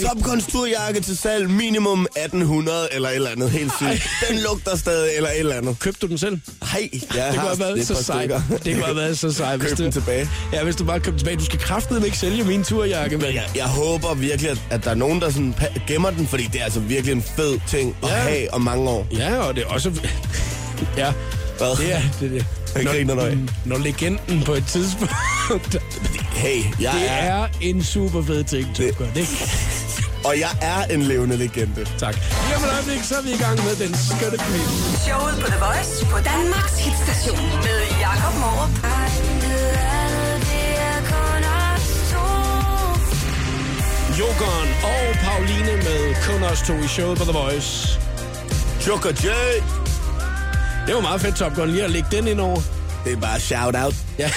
[SPEAKER 2] Top Guns turjakke til salg minimum 1800 eller et eller andet. Helt sygt. Den lugter stadig eller et eller andet.
[SPEAKER 1] Købte du den selv?
[SPEAKER 2] Hej, jeg
[SPEAKER 1] Det kunne
[SPEAKER 2] har
[SPEAKER 1] have været
[SPEAKER 2] lidt
[SPEAKER 1] så
[SPEAKER 2] par
[SPEAKER 1] sejt.
[SPEAKER 2] stykker.
[SPEAKER 1] Det kunne have været så sejt. hvis
[SPEAKER 2] Køb den
[SPEAKER 1] du-
[SPEAKER 2] tilbage.
[SPEAKER 1] Ja, hvis du bare købte den tilbage. Du skal kraftedeme ikke sælge min turjakke, men ja.
[SPEAKER 2] Jeg håber virkelig, at- at der er nogen, der sådan pa- gemmer den, fordi det er altså virkelig en fed ting at
[SPEAKER 1] Ja.
[SPEAKER 2] have om mange år.
[SPEAKER 1] Ja, og det er også... Ja,
[SPEAKER 2] Hvad?
[SPEAKER 1] det er det. det.
[SPEAKER 2] Jeg griner dig.
[SPEAKER 1] når legenden på et tidspunkt...
[SPEAKER 2] Hey, jeg
[SPEAKER 1] Det
[SPEAKER 2] er,
[SPEAKER 1] er en super fed ting, du
[SPEAKER 2] Det-
[SPEAKER 1] gør. Det.
[SPEAKER 2] og jeg er en levende legende.
[SPEAKER 1] Tak. Lige om et øjeblik, så er vi i gang med den skønne quiz.
[SPEAKER 3] Showet på The Voice på Danmarks hitstation med Jakob Morup.
[SPEAKER 1] Jokeren og Pauline med kun os to i showet på The Voice.
[SPEAKER 2] Joker J,
[SPEAKER 1] Det var meget fedt, Top Gun, lige at lægge den ind over.
[SPEAKER 2] det er bare shout-out.
[SPEAKER 1] Ja.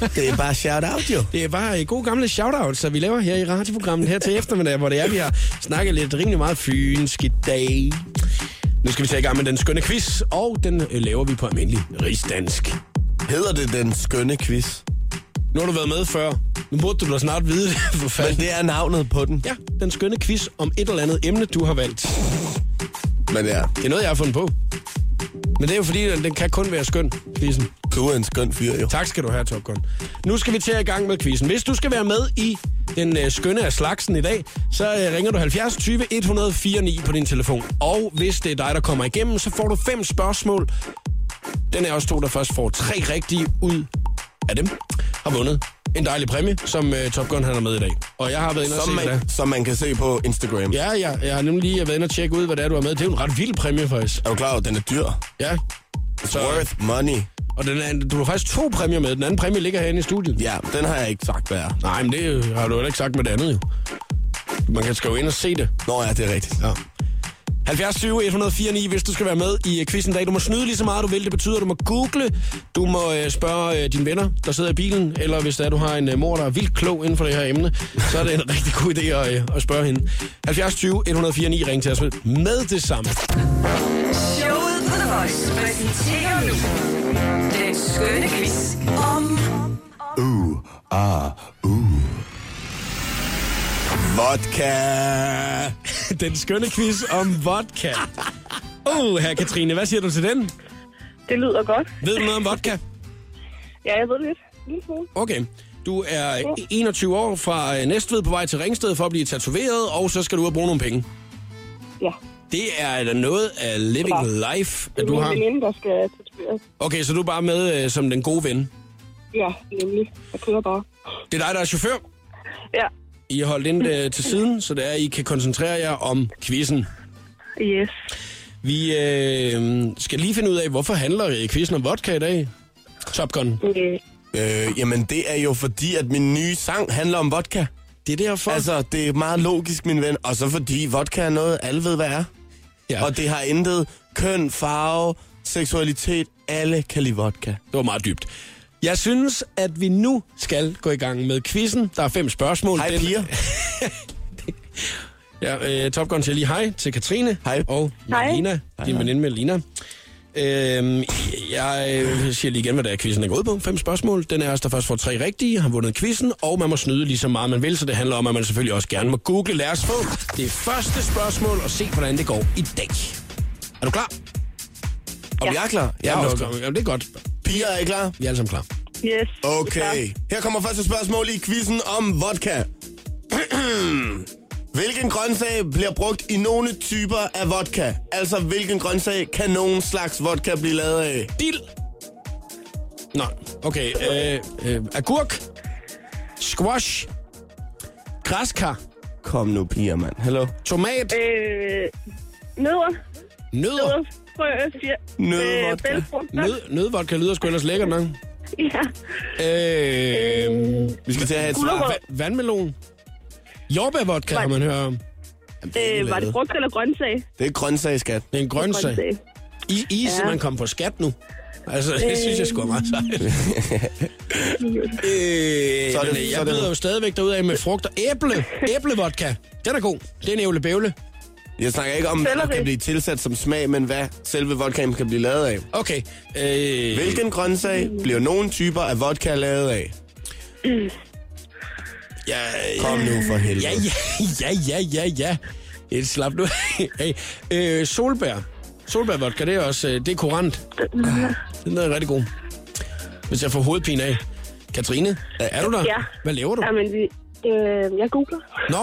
[SPEAKER 2] Det er bare shout-out, jo.
[SPEAKER 1] Det er bare øh, gode gamle shoutouts, som vi laver her i radioprogrammet her til eftermiddag, hvor det er, vi har snakket lidt rimelig meget fynsk i dag. Nu skal vi tage i gang med den skønne quiz, og den øh, laver vi på almindelig rigsdansk.
[SPEAKER 2] Hedder det den skønne quiz?
[SPEAKER 1] Nu har du været med før. Nu burde du da snart vide det, for
[SPEAKER 2] Men
[SPEAKER 1] fanden.
[SPEAKER 2] det er navnet på den.
[SPEAKER 1] Ja, den skønne quiz om et eller andet emne, du har valgt.
[SPEAKER 2] Men ja,
[SPEAKER 1] Det er noget, jeg har fundet på. Men det er jo fordi, den, den kan kun være skøn, quizzen.
[SPEAKER 2] du er en skøn fyr, jo.
[SPEAKER 1] Tak skal du have, Top Gun. Nu skal vi til at i gang med quizzen. Hvis du skal være med i den øh, skønne af slagsen i dag, så øh, ringer du 70 20 104 9 på din telefon. Og hvis det er dig, der kommer igennem, så får du fem spørgsmål. Den er også to, der først får tre rigtige ud af dem, har vundet en dejlig præmie, som øh, Top Gun han er med i dag. Og jeg har været inde og se,
[SPEAKER 2] Som
[SPEAKER 1] hvad det er.
[SPEAKER 2] man, som man kan se på Instagram.
[SPEAKER 1] Ja, ja, jeg har nemlig lige været inde og tjekke ud, hvad det er, du har med. Det er jo en ret vild præmie, faktisk.
[SPEAKER 2] Er du klar over, at den er dyr?
[SPEAKER 1] Ja.
[SPEAKER 2] It's worth money.
[SPEAKER 1] Og den er, du har faktisk to præmier med. Den anden præmie ligger herinde i studiet.
[SPEAKER 2] Ja, den har jeg ikke sagt, hvad er.
[SPEAKER 1] Nej, men det øh, har du heller ikke sagt med det andet, jo. Man kan skrive ind og se det.
[SPEAKER 2] Nå ja, det er rigtigt.
[SPEAKER 1] 70 20 104 9, hvis du skal være med i øh, quizzen i dag. Du må snyde lige så meget, du vil. Det betyder, at du må google. Du må øh, spørge øh, dine venner, der sidder i bilen. Eller hvis det er, du har en øh, mor, der er vildt klog inden for det her emne, så er det en rigtig god idé at, øh, at spørge hende. 70 20 104 9, ring til os med, med det samme.
[SPEAKER 3] Showet på The Voice præsenterer nu den skønne quiz om...
[SPEAKER 2] Vodka!
[SPEAKER 1] Den skønne quiz om vodka. Oh, her Katrine, hvad siger du til den?
[SPEAKER 7] Det lyder godt.
[SPEAKER 1] Ved du noget om vodka?
[SPEAKER 7] Ja, jeg ved lidt. En lille smule.
[SPEAKER 1] Okay. Du er 21 år fra øh, Næstved på vej til Ringsted for at blive tatoveret, og så skal du ud og bruge nogle penge.
[SPEAKER 7] Ja.
[SPEAKER 1] Det er da noget af living life, at du
[SPEAKER 7] Min
[SPEAKER 1] har.
[SPEAKER 7] veninde, der skal tatoveres.
[SPEAKER 1] Okay, så du er bare med øh, som den gode ven.
[SPEAKER 7] Ja, nemlig. Jeg kører bare.
[SPEAKER 1] Det er dig, der er chauffør.
[SPEAKER 7] Ja.
[SPEAKER 1] I har holdt ind øh, til siden, så det er, I kan koncentrere jer om quizzen.
[SPEAKER 7] Yes.
[SPEAKER 1] Vi øh, skal lige finde ud af, hvorfor handler øh, quizzen om vodka i dag? Top Gun.
[SPEAKER 7] Øh,
[SPEAKER 2] Øh, jamen, det er jo fordi, at min nye sang handler om vodka.
[SPEAKER 1] Det er derfor.
[SPEAKER 2] Altså, det er meget logisk, min ven. Og så fordi vodka er noget, alle ved, hvad er.
[SPEAKER 1] Ja.
[SPEAKER 2] Ja. Og det har intet køn, farve, seksualitet. Alle kan lide vodka.
[SPEAKER 1] Det var meget dybt. Jeg synes, at vi nu skal gå i gang med quizzen. Der er fem spørgsmål.
[SPEAKER 2] Hej piger.
[SPEAKER 1] Ja, øh, Top Gun siger lige hej til Katrine.
[SPEAKER 2] Hej.
[SPEAKER 1] Og
[SPEAKER 7] Hej.
[SPEAKER 1] Melina, din veninde Melina. Øhm, jeg øh, siger lige igen, hvad der er quizzen er gået på. Fem spørgsmål. Den er os, der først får tre rigtige, har vundet quizzen, og man må snyde lige så meget man vil, så det handler om, at man selvfølgelig også gerne må google. Lad os få det første spørgsmål og se, hvordan det går i dag. Er du klar?
[SPEAKER 2] Om ja. jeg er klar? Jeg er
[SPEAKER 1] Ja,
[SPEAKER 2] også
[SPEAKER 1] okay.
[SPEAKER 2] klar.
[SPEAKER 1] Jamen, det er godt.
[SPEAKER 2] Piger, er I klar?
[SPEAKER 1] Vi er alle sammen klar.
[SPEAKER 7] Yes.
[SPEAKER 2] Okay. Her kommer første spørgsmål i quizzen om vodka. hvilken grøntsag bliver brugt i nogle typer af vodka? Altså, hvilken grøntsag kan nogen slags vodka blive lavet af?
[SPEAKER 1] Dild. Nå, okay. Øh, øh, agurk. Squash. Græskar.
[SPEAKER 2] Kom nu, piger, mand. Hallo?
[SPEAKER 1] Tomat.
[SPEAKER 7] Øh, nødder,
[SPEAKER 1] Nødder.
[SPEAKER 7] nødder, frø, fjer, Øh,
[SPEAKER 2] Nødvodka.
[SPEAKER 7] bælfrugter.
[SPEAKER 1] Nød, nødvodka lyder sgu ellers lækkert nok.
[SPEAKER 7] Ja.
[SPEAKER 1] Øh,
[SPEAKER 2] Vi skal til at have et
[SPEAKER 7] Gulerod.
[SPEAKER 2] svar.
[SPEAKER 1] va- vandmelon. Jordbærvodka har man hørt om.
[SPEAKER 7] Øh, var det frugt eller grøntsag?
[SPEAKER 2] Det er grøntsag, skat.
[SPEAKER 1] Det er en grøntsag. I, I er simpelthen kommet på skat nu. Altså, det synes jeg sgu er meget sejt. øh, så
[SPEAKER 2] Så er det-
[SPEAKER 1] det, men, jeg
[SPEAKER 2] så er det-
[SPEAKER 1] byder jo stadigvæk derudad med frugt og æble. Æblevodka. Den er god. Det er en æblebævle.
[SPEAKER 2] Jeg snakker ikke om, hvad der
[SPEAKER 7] Selleri.
[SPEAKER 2] kan blive tilsat som smag, men hvad selve vodkaen kan blive lavet af.
[SPEAKER 1] Okay. Øh,
[SPEAKER 2] Hvilken grøntsag bliver nogle typer af vodka lavet af?
[SPEAKER 1] Ja,
[SPEAKER 2] Kom nu for helvede.
[SPEAKER 1] ja, ja, ja, ja, ja, ja. Et slap nu. hey, øh, solbær. Solbærvodka, det er også øh, det er kurant. Den er rigtig god. Hvis jeg får hovedpine af. Katrine, er du der?
[SPEAKER 7] Ja.
[SPEAKER 1] Hvad laver du?
[SPEAKER 7] Jamen, vi, øh, jeg googler.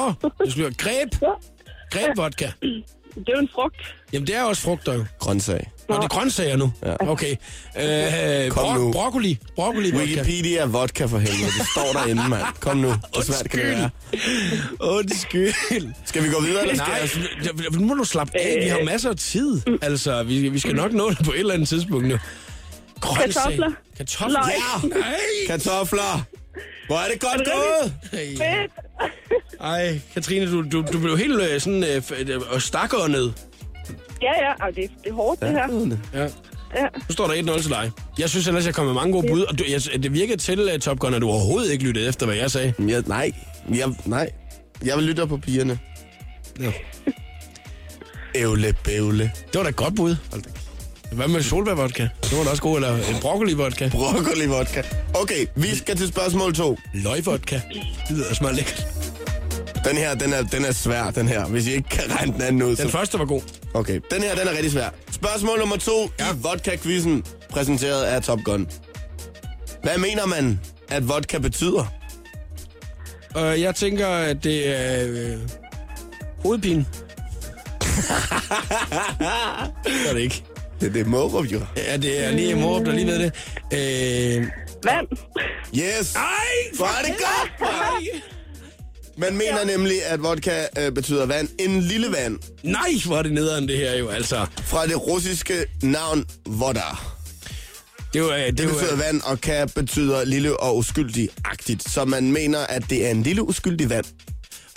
[SPEAKER 1] Nå, du skal høre. Greb.
[SPEAKER 7] Ja.
[SPEAKER 1] Grebvodka.
[SPEAKER 7] Det er jo en frugt.
[SPEAKER 1] Jamen, det er også frugter jo.
[SPEAKER 2] Grøntsag.
[SPEAKER 1] Nå, det er grøntsager nu. Ja. Okay. Øh,
[SPEAKER 2] Kom nu.
[SPEAKER 1] bro- broccoli. Broccoli vodka.
[SPEAKER 2] Wikipedia er vodka for helvede. Det står derinde, mand. Kom nu. Hvor svært kan det være?
[SPEAKER 1] Undskyld.
[SPEAKER 2] Skal vi gå videre, eller skal
[SPEAKER 1] Nej, altså,
[SPEAKER 2] jeg...
[SPEAKER 1] jeg- nu må du slappe af. Vi har
[SPEAKER 7] Øh.
[SPEAKER 1] masser af tid. Altså, vi, vi skal nok nå det på et eller andet tidspunkt nu. Grøntsag.
[SPEAKER 7] Kartofler.
[SPEAKER 1] Kartofler.
[SPEAKER 7] Løg.
[SPEAKER 1] Ja. Nej.
[SPEAKER 2] Kartofler! Hvor er det godt
[SPEAKER 7] Er det
[SPEAKER 2] gået!
[SPEAKER 7] Fedt.
[SPEAKER 1] Ej, Katrine, du, du, du blev helt øh, sådan øh, f- øh, og stakåndet.
[SPEAKER 7] Ja, ja. Ej, det, det er hårdt, det her.
[SPEAKER 1] Ja.
[SPEAKER 7] Ja.
[SPEAKER 1] Nu står der 1-0 til dig. Jeg synes ellers, jeg kom med mange gode bud, og du, jeg, det virkede til, uh, Top Gun, at du overhovedet ikke lyttede efter, hvad jeg sagde.
[SPEAKER 2] Ja, nej. Jeg, nej. Jeg vil lytte på pigerne.
[SPEAKER 1] Ja.
[SPEAKER 2] Ævle, bævle.
[SPEAKER 1] Det var da et godt bud. Hvad med solbærvodka? Det var da også god, eller en broccoli-vodka.
[SPEAKER 2] Broccoli vodka. Okay, vi skal til spørgsmål to.
[SPEAKER 1] Løgvodka. Det lyder også meget lækkert.
[SPEAKER 2] Den her, den er, den er svær, den her. Hvis I ikke kan regne den anden ud,
[SPEAKER 1] Den
[SPEAKER 2] så...
[SPEAKER 1] første var god.
[SPEAKER 2] Okay, den her, den er rigtig svær. Spørgsmål nummer to ja. i vodka-quizzen, præsenteret af Top Gun. Hvad mener man, at vodka betyder?
[SPEAKER 1] Øh, jeg tænker, at det er øh, hovedpine. det er det ikke.
[SPEAKER 2] Det, det er Mårup, jo.
[SPEAKER 1] Ja, det er lige mor, der lige ved det. Øh,
[SPEAKER 7] Vand.
[SPEAKER 2] Yes!
[SPEAKER 1] ej,
[SPEAKER 2] Hvor er det godt,
[SPEAKER 1] nej,
[SPEAKER 2] Man mener nemlig, at vodka øh, betyder vand. En lille vand.
[SPEAKER 1] nej, hvor er det nederen det her jo, altså.
[SPEAKER 2] Fra det russiske navn voda.
[SPEAKER 1] Det, var, det, øh,
[SPEAKER 2] Det
[SPEAKER 1] var,
[SPEAKER 2] betyder vand, og ka betyder lille og uskyldig-agtigt. Så man mener, at det er en lille uskyldig vand.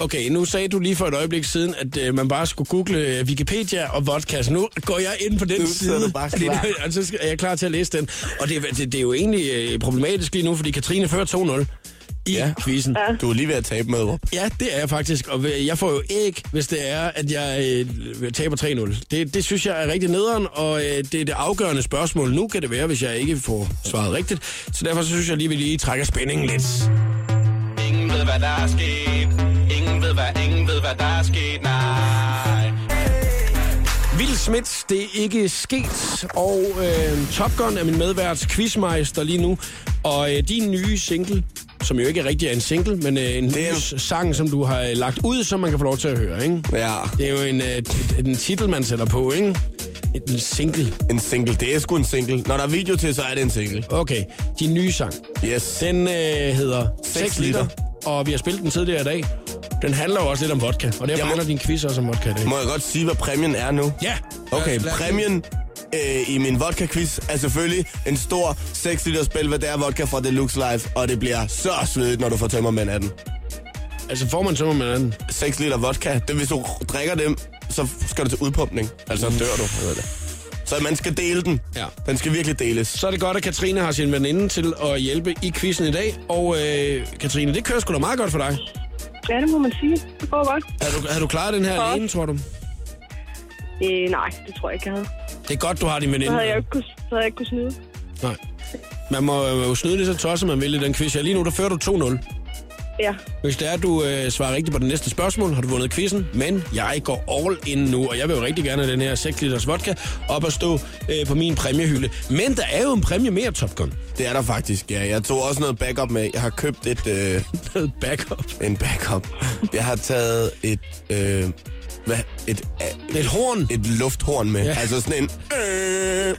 [SPEAKER 1] Okay, nu sagde du lige for et øjeblik siden, at øh, man bare skulle google øh, Wikipedia og vodka. Så nu går jeg ind på den
[SPEAKER 2] Nu sidder
[SPEAKER 1] side,
[SPEAKER 2] du bare
[SPEAKER 1] Fordi
[SPEAKER 2] klar.
[SPEAKER 1] det- og så skal- er jeg klar til at læse den. Og det, det, det er jo egentlig øh, problematisk lige nu, fordi Katrine fører 2-0 i ja. quizzen. Ja.
[SPEAKER 2] Du er lige ved at tabe med, Rup.
[SPEAKER 1] Ja, det er jeg faktisk. Og øh, jeg får jo æg, hvis det er, at jeg øh, taber 3-0. Det, det synes jeg er rigtig nederen, og øh, det er det afgørende spørgsmål. Nu kan det være, hvis jeg ikke får svaret rigtigt. Så derfor så synes jeg lige, vi lige trækker spændingen lidt.
[SPEAKER 8] Ingen ved, hvad der er sket. Ingen ved, hvad, ingen ved, hvad der er sket. Nej.
[SPEAKER 1] Vild Smits, det er ikke sket, og øh, Top Gun er min medværts quizmeister lige nu. Og øh, din nye single, som jo ikke rigtig er en single, men øh, en
[SPEAKER 2] er
[SPEAKER 1] ny
[SPEAKER 2] jo-
[SPEAKER 1] sang, som du har øh, lagt ud, som man kan få lov til at høre, ikke?
[SPEAKER 2] Ja,
[SPEAKER 1] Det er jo en, øh, t- en titel, man sætter på, ikke? En- En single.
[SPEAKER 2] en single. Det er sgu en single. Når der er video til, så er det en single.
[SPEAKER 1] Okay, din nye sang.
[SPEAKER 2] Yes.
[SPEAKER 1] Den øh, hedder 6,
[SPEAKER 2] Seks
[SPEAKER 1] 6 liter,
[SPEAKER 2] liter.
[SPEAKER 1] og vi har spillet den tidligere i dag. Den handler jo også lidt om vodka, og derfor
[SPEAKER 2] Jeg må-
[SPEAKER 1] handler din quiz også om vodka i dag.
[SPEAKER 2] Må jeg godt sige, hvad præmien er nu?
[SPEAKER 1] Ja.
[SPEAKER 2] Okay,
[SPEAKER 1] Lad os- lad os-
[SPEAKER 2] præmien øh, i min vodka-quiz er selvfølgelig en stor 6 liter spil, hvad det er vodka fra Deluxe Life, og det bliver så svedigt, når du får tømmermænd af den.
[SPEAKER 1] Altså får man så må man anden.
[SPEAKER 2] 6 liter vodka, det, hvis du drikker dem så skal du til udpumpning. Altså dør du. Eller det. Så man skal dele den.
[SPEAKER 1] Mm. Ja.
[SPEAKER 2] Den skal virkelig deles.
[SPEAKER 1] Så er det godt, at Katrine har sin veninde til at hjælpe i quizzen i dag. Og øh, Katrine, det kører sgu da meget godt for dig.
[SPEAKER 7] Ja, det må man sige. Det går godt.
[SPEAKER 1] Har du, har du klaret den her
[SPEAKER 7] Godt.
[SPEAKER 1] alene, tror du?
[SPEAKER 7] Øh, nej, det tror jeg ikke, jeg havde.
[SPEAKER 1] Det er godt, du har din
[SPEAKER 7] Så
[SPEAKER 1] veninde.
[SPEAKER 7] havde jeg jo ikke kunne, så havde jeg ikke kunne snyde.
[SPEAKER 1] Nej. Man må øh, jo snyde lige så tosset, man vil i den quiz. Ja, lige nu, der fører du 2-0.
[SPEAKER 7] Ja,
[SPEAKER 1] Hvis det er, at du øh, svarer rigtigt på det næste spørgsmål, har du vundet quizzen, men jeg går all in nu, og jeg vil jo rigtig gerne have den her 6 liters vodka op og stå øh, på min præmiehylde. Men der er jo en præmie mere, Top Gun.
[SPEAKER 2] Det er der faktisk, ja. Jeg tog også noget backup med. Jeg har købt et... Øh,
[SPEAKER 1] Noget backup.
[SPEAKER 2] en backup. Jeg har taget et... Øh, hvad? Et, øh,
[SPEAKER 1] Et horn.
[SPEAKER 2] et lufthorn med.
[SPEAKER 1] Ja.
[SPEAKER 2] Ja. Altså sådan en... Øh,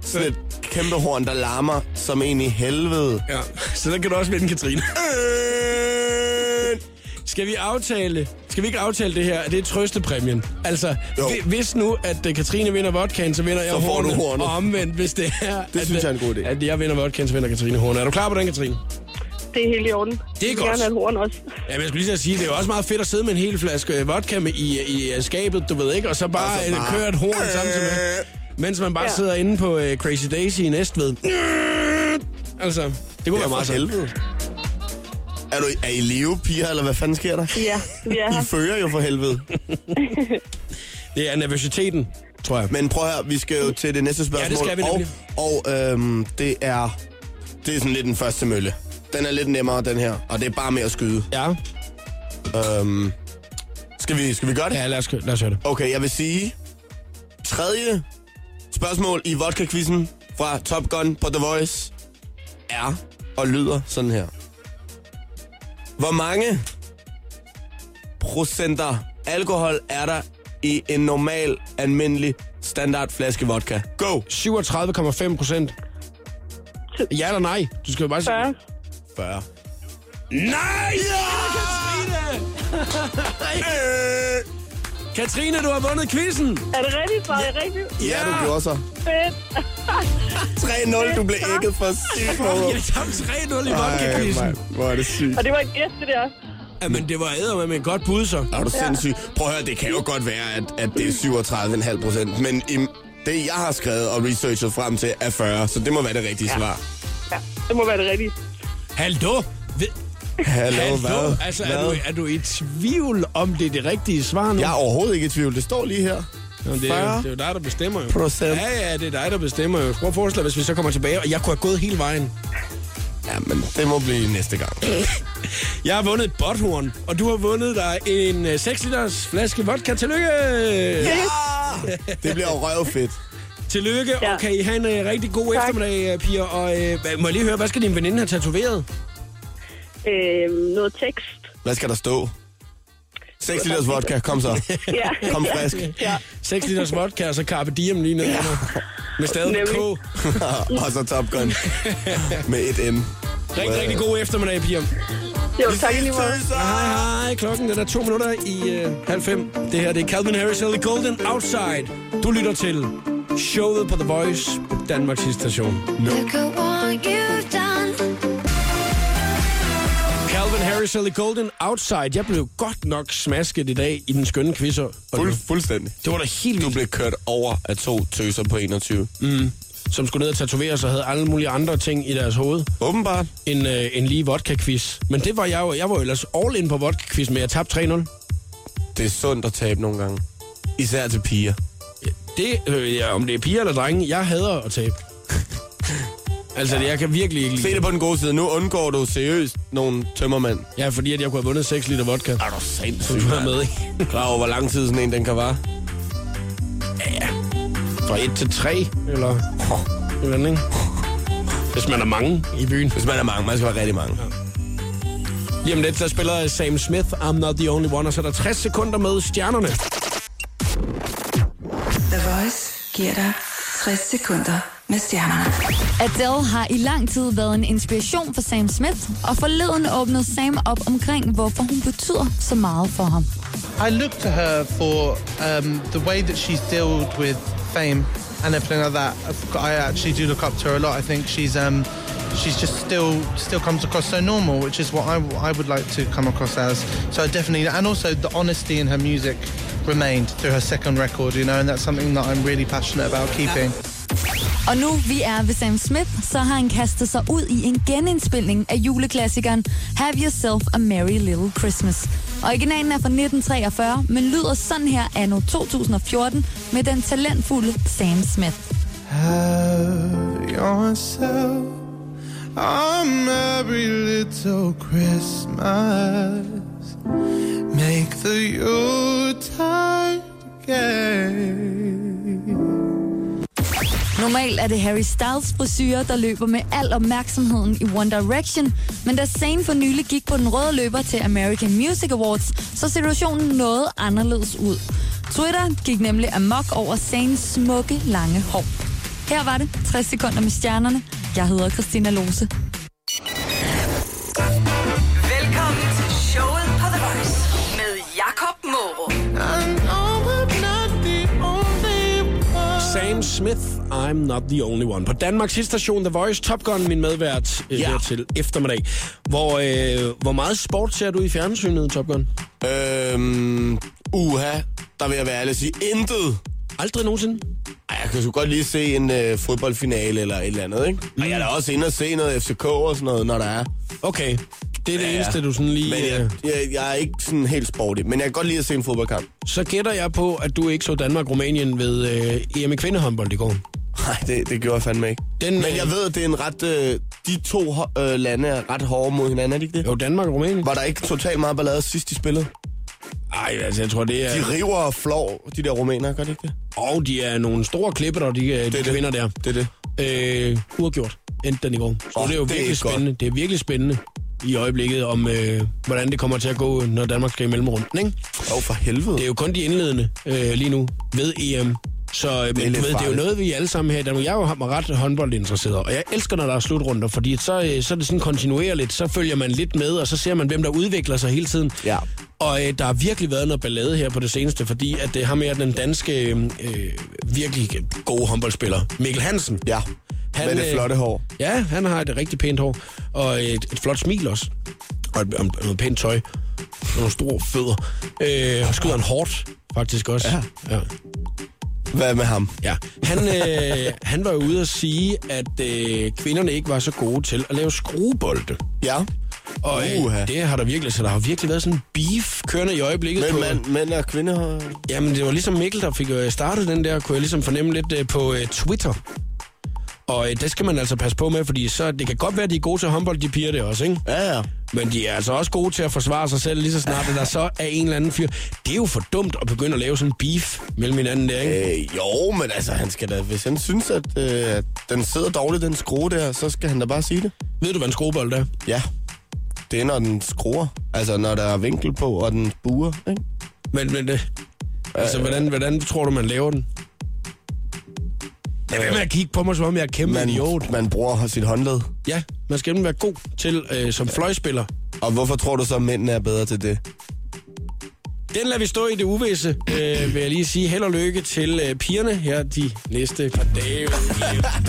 [SPEAKER 2] sådan et kæmpe horn, der larmer som en i helvede.
[SPEAKER 1] Ja, så der kan du også vinde, Katrine.
[SPEAKER 2] Øh,
[SPEAKER 1] Skal vi aftale, skal vi ikke aftale det her? at Det er trøstepræmien. Altså,
[SPEAKER 2] Jo.
[SPEAKER 1] hvi- hvis nu, at øh, Katrine vinder vodkaen, så vinder jeg
[SPEAKER 2] får
[SPEAKER 1] hornet,
[SPEAKER 2] du hornet.
[SPEAKER 1] Og omvendt, hvis det er,
[SPEAKER 2] Det synes jeg er en god idé.
[SPEAKER 1] at jeg vinder vodkaen, så vinder Katrine hornet. Er du klar på den, Katrine?
[SPEAKER 7] det er helt i orden.
[SPEAKER 1] Det er
[SPEAKER 7] jeg vil
[SPEAKER 1] godt.
[SPEAKER 7] gerne have et horn også.
[SPEAKER 1] Ja, men jeg skulle lige til at sige, det er jo også meget fedt at sidde med en hel flaske øh, vodka med i, i øh, skabet, du ved ikke, og så bare,
[SPEAKER 2] Og så
[SPEAKER 1] øh,
[SPEAKER 2] bare- Øh,
[SPEAKER 1] køre et horn samtidig med, mens man bare ja.
[SPEAKER 7] Ja.
[SPEAKER 1] sidder inde på øh, Crazy Daisy i Næstved. Altså, det kunne
[SPEAKER 2] Det
[SPEAKER 1] være
[SPEAKER 2] er
[SPEAKER 1] meget
[SPEAKER 2] for
[SPEAKER 1] sjovt.
[SPEAKER 2] helvede. Er, du, er I live, piger, eller hvad fanden sker der?
[SPEAKER 7] Ja, vi er
[SPEAKER 2] I
[SPEAKER 7] her.
[SPEAKER 2] fører jo for helvede.
[SPEAKER 1] Det er nervøsiteten, tror jeg.
[SPEAKER 2] Men prøv at høre, vi skal jo til det næste spørgsmål.
[SPEAKER 1] Mm. Ja, det skal vi
[SPEAKER 2] og,
[SPEAKER 1] nemlig.
[SPEAKER 2] og øhm, det er det er sådan lidt den første mølle. Den er lidt nemmere, den her. Og det er bare med at skyde.
[SPEAKER 1] Ja,
[SPEAKER 2] Øhm, skal, vi, skal vi gøre det?
[SPEAKER 1] ja lad, os, kø- lad os høre det.
[SPEAKER 2] Okay, jeg vil sige... Tredje spørgsmål i vodka fra Top Gun på The Voice er og lyder sådan her. Hvor mange procenter alkohol er der i en normal, almindelig, standard flaske vodka? Go!
[SPEAKER 1] 37,5 procent. Ja eller nej? Du skal jo bare sige...
[SPEAKER 7] 40.
[SPEAKER 2] 40.
[SPEAKER 1] Nej! Ja!
[SPEAKER 2] Øh,
[SPEAKER 1] Katrine! Katrine, du har vundet quizzen!
[SPEAKER 7] Er det rigtigt? Var det rigtigt?
[SPEAKER 2] Ja, du gjorde så.
[SPEAKER 7] Fedt.
[SPEAKER 2] 3-0, du blev ægget for sygt, Momo.
[SPEAKER 1] Jeg tabte 3-0 i
[SPEAKER 2] Ej,
[SPEAKER 1] vodka-quizzen.
[SPEAKER 2] mand, Hvor er det sygt.
[SPEAKER 7] Og det var et gæst, det der.
[SPEAKER 1] Jamen, det var æder med et godt bud, så.
[SPEAKER 2] Er du sindssyg? Prøv at høre, det kan jo godt være, at, at det er 37,5 procent, men i, det, jeg har skrevet og researchet frem til, er 40, så det må være det rigtige ja. svar.
[SPEAKER 7] Ja, det må være det rigtige.
[SPEAKER 1] Hallo? Ved-
[SPEAKER 2] Hallo, hvad?
[SPEAKER 1] Altså,
[SPEAKER 2] hvad?
[SPEAKER 1] er du, er du i tvivl om, det er det rigtige svar nu?
[SPEAKER 2] Jeg er overhovedet ikke i tvivl. Det står lige her.
[SPEAKER 1] Jamen, det, er,
[SPEAKER 2] 40
[SPEAKER 1] det er jo dig, der bestemmer jo.
[SPEAKER 2] procent.
[SPEAKER 1] Ja, ja, det er dig, der bestemmer jo. Prøv at forestille dig, hvis vi så kommer tilbage, og jeg kunne have gået hele vejen.
[SPEAKER 2] Ja, men det må blive næste gang.
[SPEAKER 1] Jeg har vundet et botthorn, og du har vundet dig en øh, 6 liters flaske vodka. Tillykke!
[SPEAKER 2] Ja! Det bliver jo røvfedt.
[SPEAKER 1] Tillykke,
[SPEAKER 7] Ja.
[SPEAKER 1] og kan I have en øh, rigtig god
[SPEAKER 7] Tak.
[SPEAKER 1] eftermiddag, øh, piger. Og øh, hvad- må jeg lige høre, hvad skal din veninde have tatoveret?
[SPEAKER 7] Øh, noget tekst.
[SPEAKER 2] Hvad skal der stå? 6 liters vodka, kom så.
[SPEAKER 7] Ja.
[SPEAKER 2] Kom frisk.
[SPEAKER 7] Ja.
[SPEAKER 1] 6 liters vodka, og så Carpe Diem lige ned. Ja. Med stadig med
[SPEAKER 7] Nemlig.
[SPEAKER 1] K.
[SPEAKER 2] og så Top Gun. Med et M.
[SPEAKER 1] Rigtig, rigtig god eftermiddag, piger.
[SPEAKER 7] Jo, tak i lige måde.
[SPEAKER 1] Hej, hej. Klokken den er to minutter i øh, halv fem. Det her det er Calvin Harris og The Golden Outside. Du lytter til showet på The Voice på Danmarks station.
[SPEAKER 9] Look at what you've done.
[SPEAKER 1] Calvin Harris og The Golden Outside. Jeg blev godt nok smasket i dag i den skønne quiz. og-
[SPEAKER 2] Fuld, fuldstændig.
[SPEAKER 1] Det var da helt vildt,
[SPEAKER 2] Du
[SPEAKER 1] Mm.
[SPEAKER 2] blev kørt over af to tøser på 21.
[SPEAKER 1] som skulle ned og tatovere sig og havde alle mulige andre ting i deres hoved.
[SPEAKER 2] Åbenbart.
[SPEAKER 1] en, øh, en lige vodka-quiz. Men det var jeg jo. Jeg var jo ellers all in på vodka-quiz, men jeg tabte 3-0.
[SPEAKER 2] Det er sundt at tabe nogle gange. Især til piger.
[SPEAKER 1] Det, øh, ja, om det er piger eller drenge, jeg hader at tabe. altså, ja. jeg kan virkelig ikke
[SPEAKER 2] Se
[SPEAKER 1] lide
[SPEAKER 2] det på den gode side. Nu undgår du seriøst nogle tømmermænd.
[SPEAKER 1] Ja, fordi at jeg kunne have vundet 6 liter vodka.
[SPEAKER 2] Er du
[SPEAKER 1] Som
[SPEAKER 2] sindssyg,
[SPEAKER 1] du har
[SPEAKER 2] mand?
[SPEAKER 1] med i.
[SPEAKER 2] Klar over, hvor lang tid sådan en den kan vare?
[SPEAKER 1] Fra 1 til 3, eller... Eller andet, ikke? Hvis man er mange i byen.
[SPEAKER 2] Hvis man er mange, man skal være rigtig mange.
[SPEAKER 1] Jamen lidt, der spiller Sam Smith, I'm Not The Only One, og så er der 60 sekunder med stjernerne.
[SPEAKER 10] The Voice giver dig 60 sekunder med stjernerne.
[SPEAKER 5] Adele har i lang tid været en inspiration for Sam Smith, og forleden åbnede Sam op omkring, hvorfor hun betyder så meget for ham.
[SPEAKER 11] I look to her for um, the way that she's dealt with fame and everything like that. I've got- I actually do look up to her a lot. I think she's um, she's just still still comes across so normal, which is what I, I would like to come across as. So I definitely, and also the honesty in her music remained through her second record, you know, and that's something that I'm really passionate about keeping.
[SPEAKER 5] Og nu vi er ved Sam Smith, så har han kastet sig ud i en genindspilning af juleklassikeren Have Yourself a Merry Little Christmas. Originalen er fra 1943, men lyder sådan her anno 2014 med den talentfulde Sam Smith.
[SPEAKER 4] Have yourself a merry little Christmas. Make the Yuletide gay.
[SPEAKER 5] Normalt er det Harry Styles frisyrer, der løber med al opmærksomheden i One Direction, men da Zayn for nylig gik på den røde løber til American Music Awards, så situationen noget anderledes ud. Twitter gik nemlig amok over Zayns smukke, lange hår. Her var det 60 sekunder med stjernerne. Jeg hedder Christina Lose.
[SPEAKER 3] Velkommen til showet på The Voice med Jakob Morup.
[SPEAKER 1] Sam Smith, I'm not the only one. På Danmarks hitstation The Voice, Top Gun, min medvært ja. her til eftermiddag. Hvor, øh, hvor meget sport ser du i fjernsynet, Top Gun?
[SPEAKER 2] Øhm, uha, der vil jeg være ærlig og sige, intet.
[SPEAKER 1] Aldrig nogensinde?
[SPEAKER 2] Ej, jeg kan sgu godt lige se en øh, fodboldfinale eller et eller andet, ikke? Og jeg er da også inde og se noget FCK og sådan noget, når der er.
[SPEAKER 1] Okay, det er det eneste, du sådan lige,
[SPEAKER 2] Men
[SPEAKER 1] øh,
[SPEAKER 2] jeg, jeg, jeg er ikke sådan helt sporty, men jeg kan godt lide at se en fodboldkamp.
[SPEAKER 1] Så gætter jeg på, at du ikke så Danmark-Rumænien ved øh, EM i kvindehåndbold i går.
[SPEAKER 2] Nej, det, det gjorde jeg fandme ikke.
[SPEAKER 1] Den,
[SPEAKER 2] Men jeg ved, at det er en ret... Øh, de to hå- øh, lande er ret hårde mod hinanden, er det ikke det?
[SPEAKER 1] Jo, Danmark og Rumænien.
[SPEAKER 2] Var der ikke totalt meget ballade sidst, de spillede?
[SPEAKER 1] Ej, altså jeg tror, det er...
[SPEAKER 2] De river og flår, de der rumænere, gør det ikke det?
[SPEAKER 1] Og de er nogle store klipper, der de, øh, de
[SPEAKER 2] det.
[SPEAKER 1] kvinder der.
[SPEAKER 2] Det er det.
[SPEAKER 1] Øh, uafgjort endte den i går. Så
[SPEAKER 2] Åh,
[SPEAKER 1] oh, det er jo
[SPEAKER 2] det er
[SPEAKER 1] virkelig
[SPEAKER 2] godt.
[SPEAKER 1] spændende. Det er virkelig spændende i øjeblikket, om øh, hvordan det kommer til at gå, når Danmark skal i mellemrunden, ikke?
[SPEAKER 2] Åh, for helvede.
[SPEAKER 1] Det er jo kun de indledende øh, lige nu ved EM. Så øh, men,
[SPEAKER 2] lidt
[SPEAKER 1] du ved, det er jo
[SPEAKER 2] farligt.
[SPEAKER 1] noget, vi alle sammen her i Danmark. Jeg er jo mig ret håndboldinteresseret, og jeg elsker, når der er slutrunder, fordi så, øh, så er det sådan kontinuerligt, så følger man lidt med, og så ser man, hvem der udvikler sig hele tiden.
[SPEAKER 2] Ja.
[SPEAKER 1] Og øh, der har virkelig været noget ballade her på det seneste, fordi at det har med den danske øh, øh, virkelig gode håndboldspiller, Mikkel Hansen.
[SPEAKER 2] Ja, med det
[SPEAKER 1] øh,
[SPEAKER 2] flotte hår.
[SPEAKER 1] Ja, han har et rigtig pænt hår, og et, et flot smil også, og et, og noget pænt tøj, og nogle store fødder. Øh, og skyder han hårdt, faktisk også. Ja. ja.
[SPEAKER 2] Hvad med ham?
[SPEAKER 1] Ja, han, øh, han var jo ude at sige, at øh, kvinderne ikke var så gode til at lave skruebolde.
[SPEAKER 2] Ja.
[SPEAKER 1] Og
[SPEAKER 2] Uha.
[SPEAKER 1] øh, det har der virkelig, så der har virkelig været sådan en beef kørende i øjeblikket.
[SPEAKER 2] Men
[SPEAKER 1] på-
[SPEAKER 2] mand, mænd og kvinde har...
[SPEAKER 1] Jamen, det var ligesom Mikkel, der fik øh, startet den der, kunne jeg ligesom fornemme lidt øh, på øh, Twitter. Og øh, det skal man altså passe på med, fordi så, det kan godt være, at de er gode til håndbold, de piger det også, ikke?
[SPEAKER 2] Ja, ja.
[SPEAKER 1] Men de er altså også gode til at forsvare sig selv, lige så snart at der så er en eller anden fyr. Det er jo for dumt at begynde at lave sådan en beef mellem hinanden der, ikke?
[SPEAKER 2] Øh, jo, men altså, han skal da... Hvis han synes, at øh, at den sidder dårligt, den skrue der, så skal han da bare sige det.
[SPEAKER 1] Ved du, hvad en skruebold er?
[SPEAKER 2] Ja. Det er, når den skruer. Altså, når der er vinkel på, og den buer, ikke?
[SPEAKER 1] Men, men det... Altså, hvordan, hvordan tror du, man laver den? Lad være med at kigge på mig, som om jeg er kæmpe man... idiot.
[SPEAKER 2] Man, man bruger sit håndled.
[SPEAKER 1] Ja, man skal nemlig være god til øh, som fløjspiller.
[SPEAKER 2] Og hvorfor tror du så, at mændene er bedre til det?
[SPEAKER 1] Den lader vi stå i det uvisse, øh, vil jeg lige sige. Held og lykke til øh, pigerne her de næste par dage. i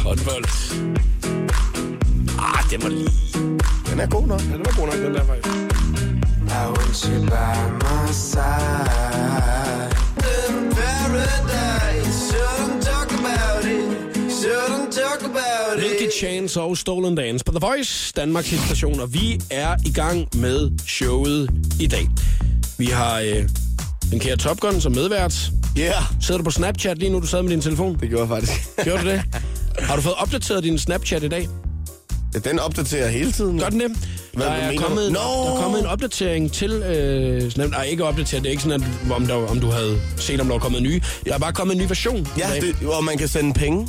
[SPEAKER 1] Håndbold. Ah, det var lige...
[SPEAKER 2] Den er god nok.
[SPEAKER 1] Ja, det var god nok, den der faktisk.
[SPEAKER 4] I want you by my side. In paradise, shouldn't talk about it. Shouldn't talk about
[SPEAKER 1] Milky Chance og Stolen Dance på The Voice, Danmarks station, og vi er i gang med showet i dag. Vi har øh, den kære Top Gun som medvært.
[SPEAKER 2] Ja, yeah.
[SPEAKER 1] Sidder du på Snapchat lige nu, du sad med din telefon?
[SPEAKER 2] det gjorde jeg faktisk.
[SPEAKER 1] Gjorde du det? Har du fået opdateret din Snapchat i dag?
[SPEAKER 2] Ja, den opdaterer hele tiden.
[SPEAKER 1] Gør den det?
[SPEAKER 2] Hvad
[SPEAKER 1] der, er
[SPEAKER 2] mener du?
[SPEAKER 1] kommet,
[SPEAKER 2] Nå!
[SPEAKER 1] der er kommet en opdatering til... Øh, Snap, nej, ikke opdateret. Det er ikke sådan, at, om, der, om du havde set, om der var kommet nye. Der er bare kommet en ny version. i
[SPEAKER 2] Ja,
[SPEAKER 1] dag.
[SPEAKER 2] det, og man kan sende penge.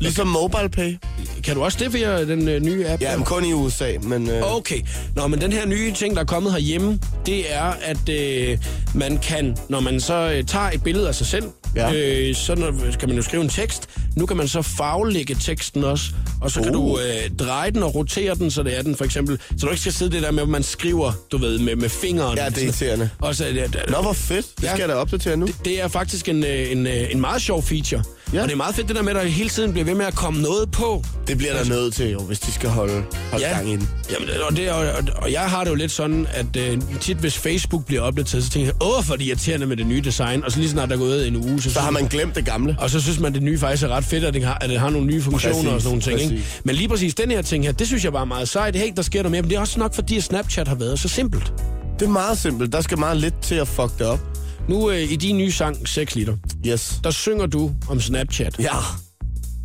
[SPEAKER 2] Ligesom MobilePay.
[SPEAKER 1] Kan du også det via den øh, nye app?
[SPEAKER 2] Ja,
[SPEAKER 1] der?
[SPEAKER 2] men kun i USA, men... Øh,
[SPEAKER 1] Okay. Nå, men den her nye ting, der er kommet herhjemme, det er, at øh, man kan, når man så øh, tager et billede af sig selv,
[SPEAKER 2] Ja.
[SPEAKER 1] øh, så når, kan man jo skrive en tekst. Nu kan man så faglægge teksten også, og så kan du
[SPEAKER 2] Oh.
[SPEAKER 1] øh, dreje den og rotere den, så det er den for eksempel. Så du ikke skal sidde det der med, at man skriver, du ved, med, med fingeren.
[SPEAKER 2] Ja, det er irriterende.
[SPEAKER 1] Og så, ja, d-
[SPEAKER 2] Nå, hvor fedt. Det skal jeg da opdatere nu.
[SPEAKER 1] Det, det er faktisk en, øh, en, øh, en meget sjov feature. Ja. Og det er meget fedt det der med, at der hele tiden bliver ved med at komme noget på.
[SPEAKER 2] Det bliver der nødt til, jo, hvis de skal holde, holde
[SPEAKER 1] Ja.
[SPEAKER 2] gang i den.
[SPEAKER 1] Jamen, og, det, og, og, og jeg har det jo lidt sådan, at øh, tit hvis Facebook bliver opdateret, så tænker jeg, åh, hvor er det irriterende med det nye design. Og så lige snart der er gået en uge, så,
[SPEAKER 2] Så har man glemt det gamle.
[SPEAKER 1] Og så synes man, at det nye faktisk er ret fedt, at det har, at det har nogle nye funktioner
[SPEAKER 2] Præcis,
[SPEAKER 1] og sådan nogle ting. Ikke?
[SPEAKER 2] præcis.
[SPEAKER 1] Men lige præcis den her ting her, det synes jeg bare er meget sejt. Hey, der sker noget mere, men det er også nok, fordi at Snapchat har været så simpelt.
[SPEAKER 2] Det er meget simpelt. Der skal meget lidt til at fuck det op.
[SPEAKER 1] Nu øh, i din nye sang, 6 liter,
[SPEAKER 2] Yes.
[SPEAKER 1] der synger du om Snapchat.
[SPEAKER 2] Ja. Det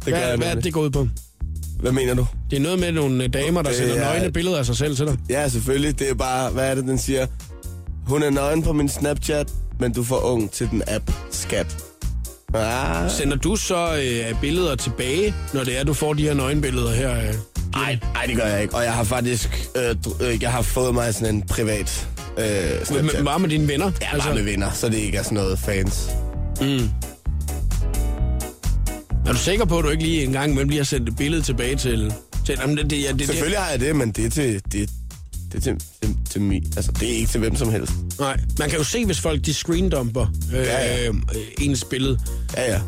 [SPEAKER 2] gør
[SPEAKER 1] Hvad,
[SPEAKER 2] jeg
[SPEAKER 1] hvad er det,
[SPEAKER 2] nemlig.
[SPEAKER 1] det går ud på?
[SPEAKER 2] Hvad mener du?
[SPEAKER 1] Det er noget med nogle øh, damer, der
[SPEAKER 2] Det
[SPEAKER 1] sender
[SPEAKER 2] er-
[SPEAKER 1] nøgne billeder af sig selv til dig.
[SPEAKER 2] Ja, selvfølgelig. Det er bare, hvad er det, den siger? Hun er nøgen på min Snapchat, men du er for ung til den app. Skat. Ah.
[SPEAKER 1] Sender du så øh, billeder tilbage, når det er, du får de her nøgenbilleder her? Øh?
[SPEAKER 2] Nej, nej, det gør jeg ikke. Og jeg har faktisk, øh, dr- øh, jeg har fået mig sådan en privat øh, Snapchat.
[SPEAKER 1] Med, bare med dine venner? Altså,
[SPEAKER 2] Ja, bare med venner, så det ikke er sådan noget fans.
[SPEAKER 1] Er du sikker på, at du ikke lige engang imellem lige har sendt et billede tilbage til... til jamen, det, det, ja, det, det-
[SPEAKER 2] Selvfølgelig har jeg det, men det er til, det, det er til, til, til mig. Altså, det er ikke til hvem som helst.
[SPEAKER 1] Nej, man kan jo se, hvis folk de screendumper øh,
[SPEAKER 2] Ja,
[SPEAKER 1] ja,
[SPEAKER 2] ja.
[SPEAKER 1] ja. Øh, ens billede.
[SPEAKER 2] Ja, ja.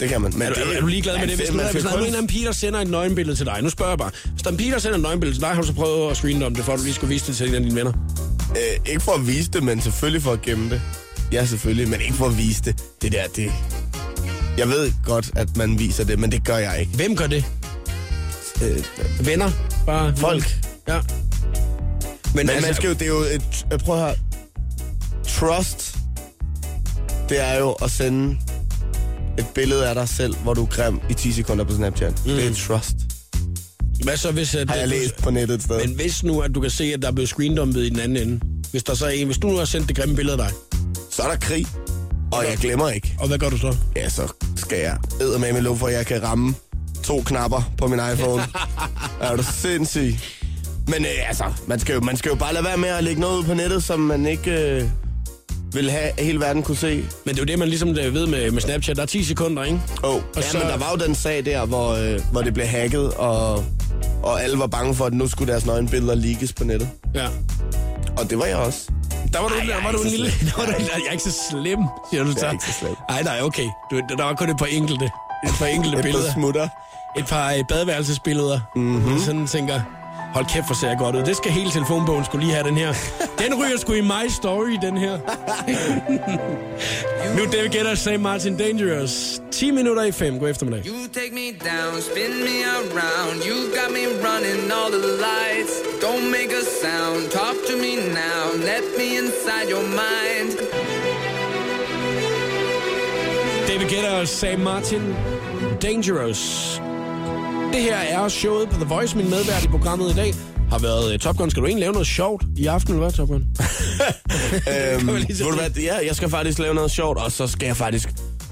[SPEAKER 2] Det kan man. Men
[SPEAKER 1] Er du,
[SPEAKER 2] det,
[SPEAKER 1] er du ligeglad med det? Hvis,
[SPEAKER 2] man
[SPEAKER 1] nu,
[SPEAKER 2] skal
[SPEAKER 1] hvis der er
[SPEAKER 2] kun-
[SPEAKER 1] nu en eller anden pige, der sender et nøgenbillede til dig, nu spørger jeg bare. Hvis der er en pige, der sender et nøgenbillede til dig, har du så prøvet at screendumpe det, for at du lige skulle vise det til en af dine venner?
[SPEAKER 2] Øh, ikke for at vise det, men selvfølgelig for at gemme det. Ja, selvfølgelig, men ikke for at vise det. Det der, det... Jeg ved godt, at man viser det, men det gør jeg ikke.
[SPEAKER 1] Hvem gør det?
[SPEAKER 2] Øh,
[SPEAKER 1] Venner? Bare
[SPEAKER 2] Folk.
[SPEAKER 1] Ja.
[SPEAKER 2] men men
[SPEAKER 1] altså-
[SPEAKER 2] man skal jo, det er jo et... øh, Prøv at høre. Trust, det er jo at sende et billede af dig selv, hvor du er grim i 10 sekunder på Snapchat. Mm. Det er trust.
[SPEAKER 1] Hvad så, hvis... At,
[SPEAKER 2] Har jeg
[SPEAKER 1] du-
[SPEAKER 2] læst på nettet et sted.
[SPEAKER 1] Men hvis nu, at du kan se, at der er blevet screendumpet i den anden ende. Hvis, der så er en, hvis du nu har sendt det grimme billede af dig,
[SPEAKER 2] Så er der krig, og jeg glemmer ikke.
[SPEAKER 1] og hvad gør du så?
[SPEAKER 2] Ja, så skal jeg eddermame med lov for, at jeg kan ramme to knapper på min iPhone. er du sindssyg? Men øh, altså, man skal, jo, man skal jo bare lade være med at lægge noget ud på nettet, som man ikke øh, vil have, at hele verden kunne se.
[SPEAKER 1] Men det er jo det, man ligesom øh, ved med, med Snapchat. Der er 10 sekunder, ikke?
[SPEAKER 2] Oh, og ja,
[SPEAKER 1] så-
[SPEAKER 2] så... men der var jo den sag der, hvor, øh, hvor det blev hacket, og, og alle var bange for, at nu skulle deres nøgenbilleder leakes på nettet.
[SPEAKER 1] Ja.
[SPEAKER 2] Og det var jeg også.
[SPEAKER 1] Der var du,
[SPEAKER 2] Ej,
[SPEAKER 1] ej,
[SPEAKER 2] jeg
[SPEAKER 1] der var
[SPEAKER 2] er
[SPEAKER 1] du
[SPEAKER 2] ikke
[SPEAKER 1] en
[SPEAKER 2] så
[SPEAKER 1] lille...
[SPEAKER 2] slem.
[SPEAKER 1] Der var du, en- jeg er ikke så slem, siger du så.
[SPEAKER 2] Jeg er ikke så slem.
[SPEAKER 1] Ej, nej, okay. Du, der var kun et par enkelte, et par enkelte
[SPEAKER 2] Et
[SPEAKER 1] billeder.
[SPEAKER 2] par smutter.
[SPEAKER 1] Et par øh, badeværelsesbilleder.
[SPEAKER 2] Mhm.
[SPEAKER 1] Mm-hmm. Sådan tænker, hold kæft, hvor ser jeg godt ud. Det skal hele telefonbogen skulle lige have den her. Den ryger sgu i my story, den her. nu det, vi gætter Sam Martin Dangerous. 10 minutter i 5. God eftermiddag.
[SPEAKER 4] You take me down, spin me around. You got me running all the lights. Don't make a sound, talk to me now. Let me inside your mind.
[SPEAKER 1] David Guetta og Sam Martin. Dangerous. Det her er showet på The Voice. Min medvært i programmet i dag har været øh, Top Gun. Skal du egentlig lave noget sjovt i aften, eller hvad, Top Gun?
[SPEAKER 2] Øhm,
[SPEAKER 1] man
[SPEAKER 2] ved
[SPEAKER 1] lige så
[SPEAKER 2] du
[SPEAKER 1] sige.
[SPEAKER 2] hvad, ja, jeg skal faktisk lave noget sjovt, og så skal jeg faktisk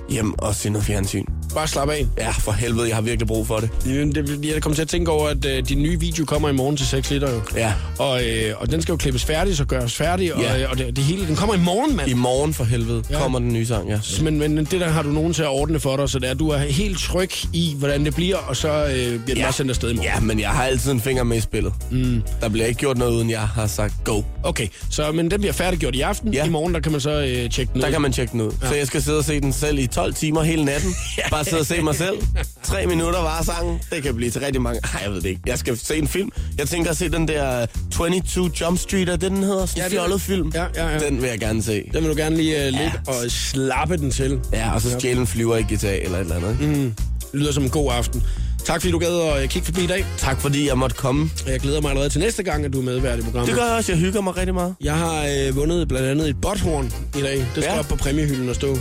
[SPEAKER 2] hjem og se noget fjernsyn.
[SPEAKER 1] Bare slap af.
[SPEAKER 2] Ja, for helvede, jeg har virkelig brug for det.
[SPEAKER 1] Jamen, det- Jeg kom til at tænke over, at øh, din nye video kommer i morgen til 6 liter jo.
[SPEAKER 2] Ja.
[SPEAKER 1] Og, øh, og den skal jo klippes færdig, så gøres færdig, og,
[SPEAKER 2] Ja.
[SPEAKER 1] øh, og det, det hele, den kommer i morgen, mand.
[SPEAKER 2] I morgen for helvede
[SPEAKER 1] Ja.
[SPEAKER 2] ja. kommer den nye sang, ja.
[SPEAKER 1] Men, men det der har du nogen til at ordne for dig, så det er, du er helt tryg i, hvordan det bliver, og så øh, bliver den bare sendt afsted i morgen.
[SPEAKER 2] Ja, men jeg har altid en finger med i spillet. Mm. Der bliver ikke gjort noget, uden jeg har sagt go.
[SPEAKER 1] Okay, så, men den bliver færdiggjort i aften.
[SPEAKER 2] Ja.
[SPEAKER 1] I morgen, der kan man så øh, tjekke den
[SPEAKER 2] Der
[SPEAKER 1] ud.
[SPEAKER 2] kan man tjekke den ud. Ja. Så jeg skal sidde og se den selv i 12 timer hele natten. Bare sidde og se mig selv. Tre minutter var sangen. Det kan blive til rigtig mange. Nej, jeg ved det ikke. Jeg skal se en film. Jeg tænker at se den der øh, 22 Jump Street, er det den hedder? Sådan
[SPEAKER 1] Ja,
[SPEAKER 2] en
[SPEAKER 1] det er-
[SPEAKER 2] fjollet film.
[SPEAKER 1] Ja, ja, ja.
[SPEAKER 2] Den vil jeg gerne se.
[SPEAKER 1] Den vil du gerne lige øh, lidt
[SPEAKER 2] Ja.
[SPEAKER 1] og slappe den til.
[SPEAKER 2] Ja, og så stjæle en flyver i GTA eller et eller andet. Mm.
[SPEAKER 1] Lyder som en god aften. Tak fordi du gad at øh, kigge forbi i dag.
[SPEAKER 2] Tak fordi jeg måtte komme.
[SPEAKER 1] Jeg glæder mig allerede til næste gang, at du er medvært i programmet.
[SPEAKER 2] Det gør jeg også. Jeg hygger mig rigtig meget.
[SPEAKER 1] Jeg har øh, vundet blandt andet et botthorn i dag. Det skal
[SPEAKER 2] Ja.
[SPEAKER 1] op på præmiehylden og stå.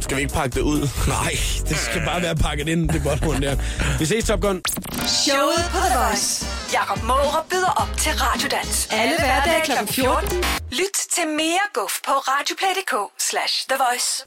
[SPEAKER 2] Skal vi ikke pakke det ud?
[SPEAKER 1] Nej, det skal bare være pakket ind, det botthorn der. Vi ses, Top Gun.
[SPEAKER 3] Showet på The Voice. Jakob Måre byder op til Radiodans. Alle hverdage kl. 14. Lyt til mere guf på radioplay.dk slash The Voice.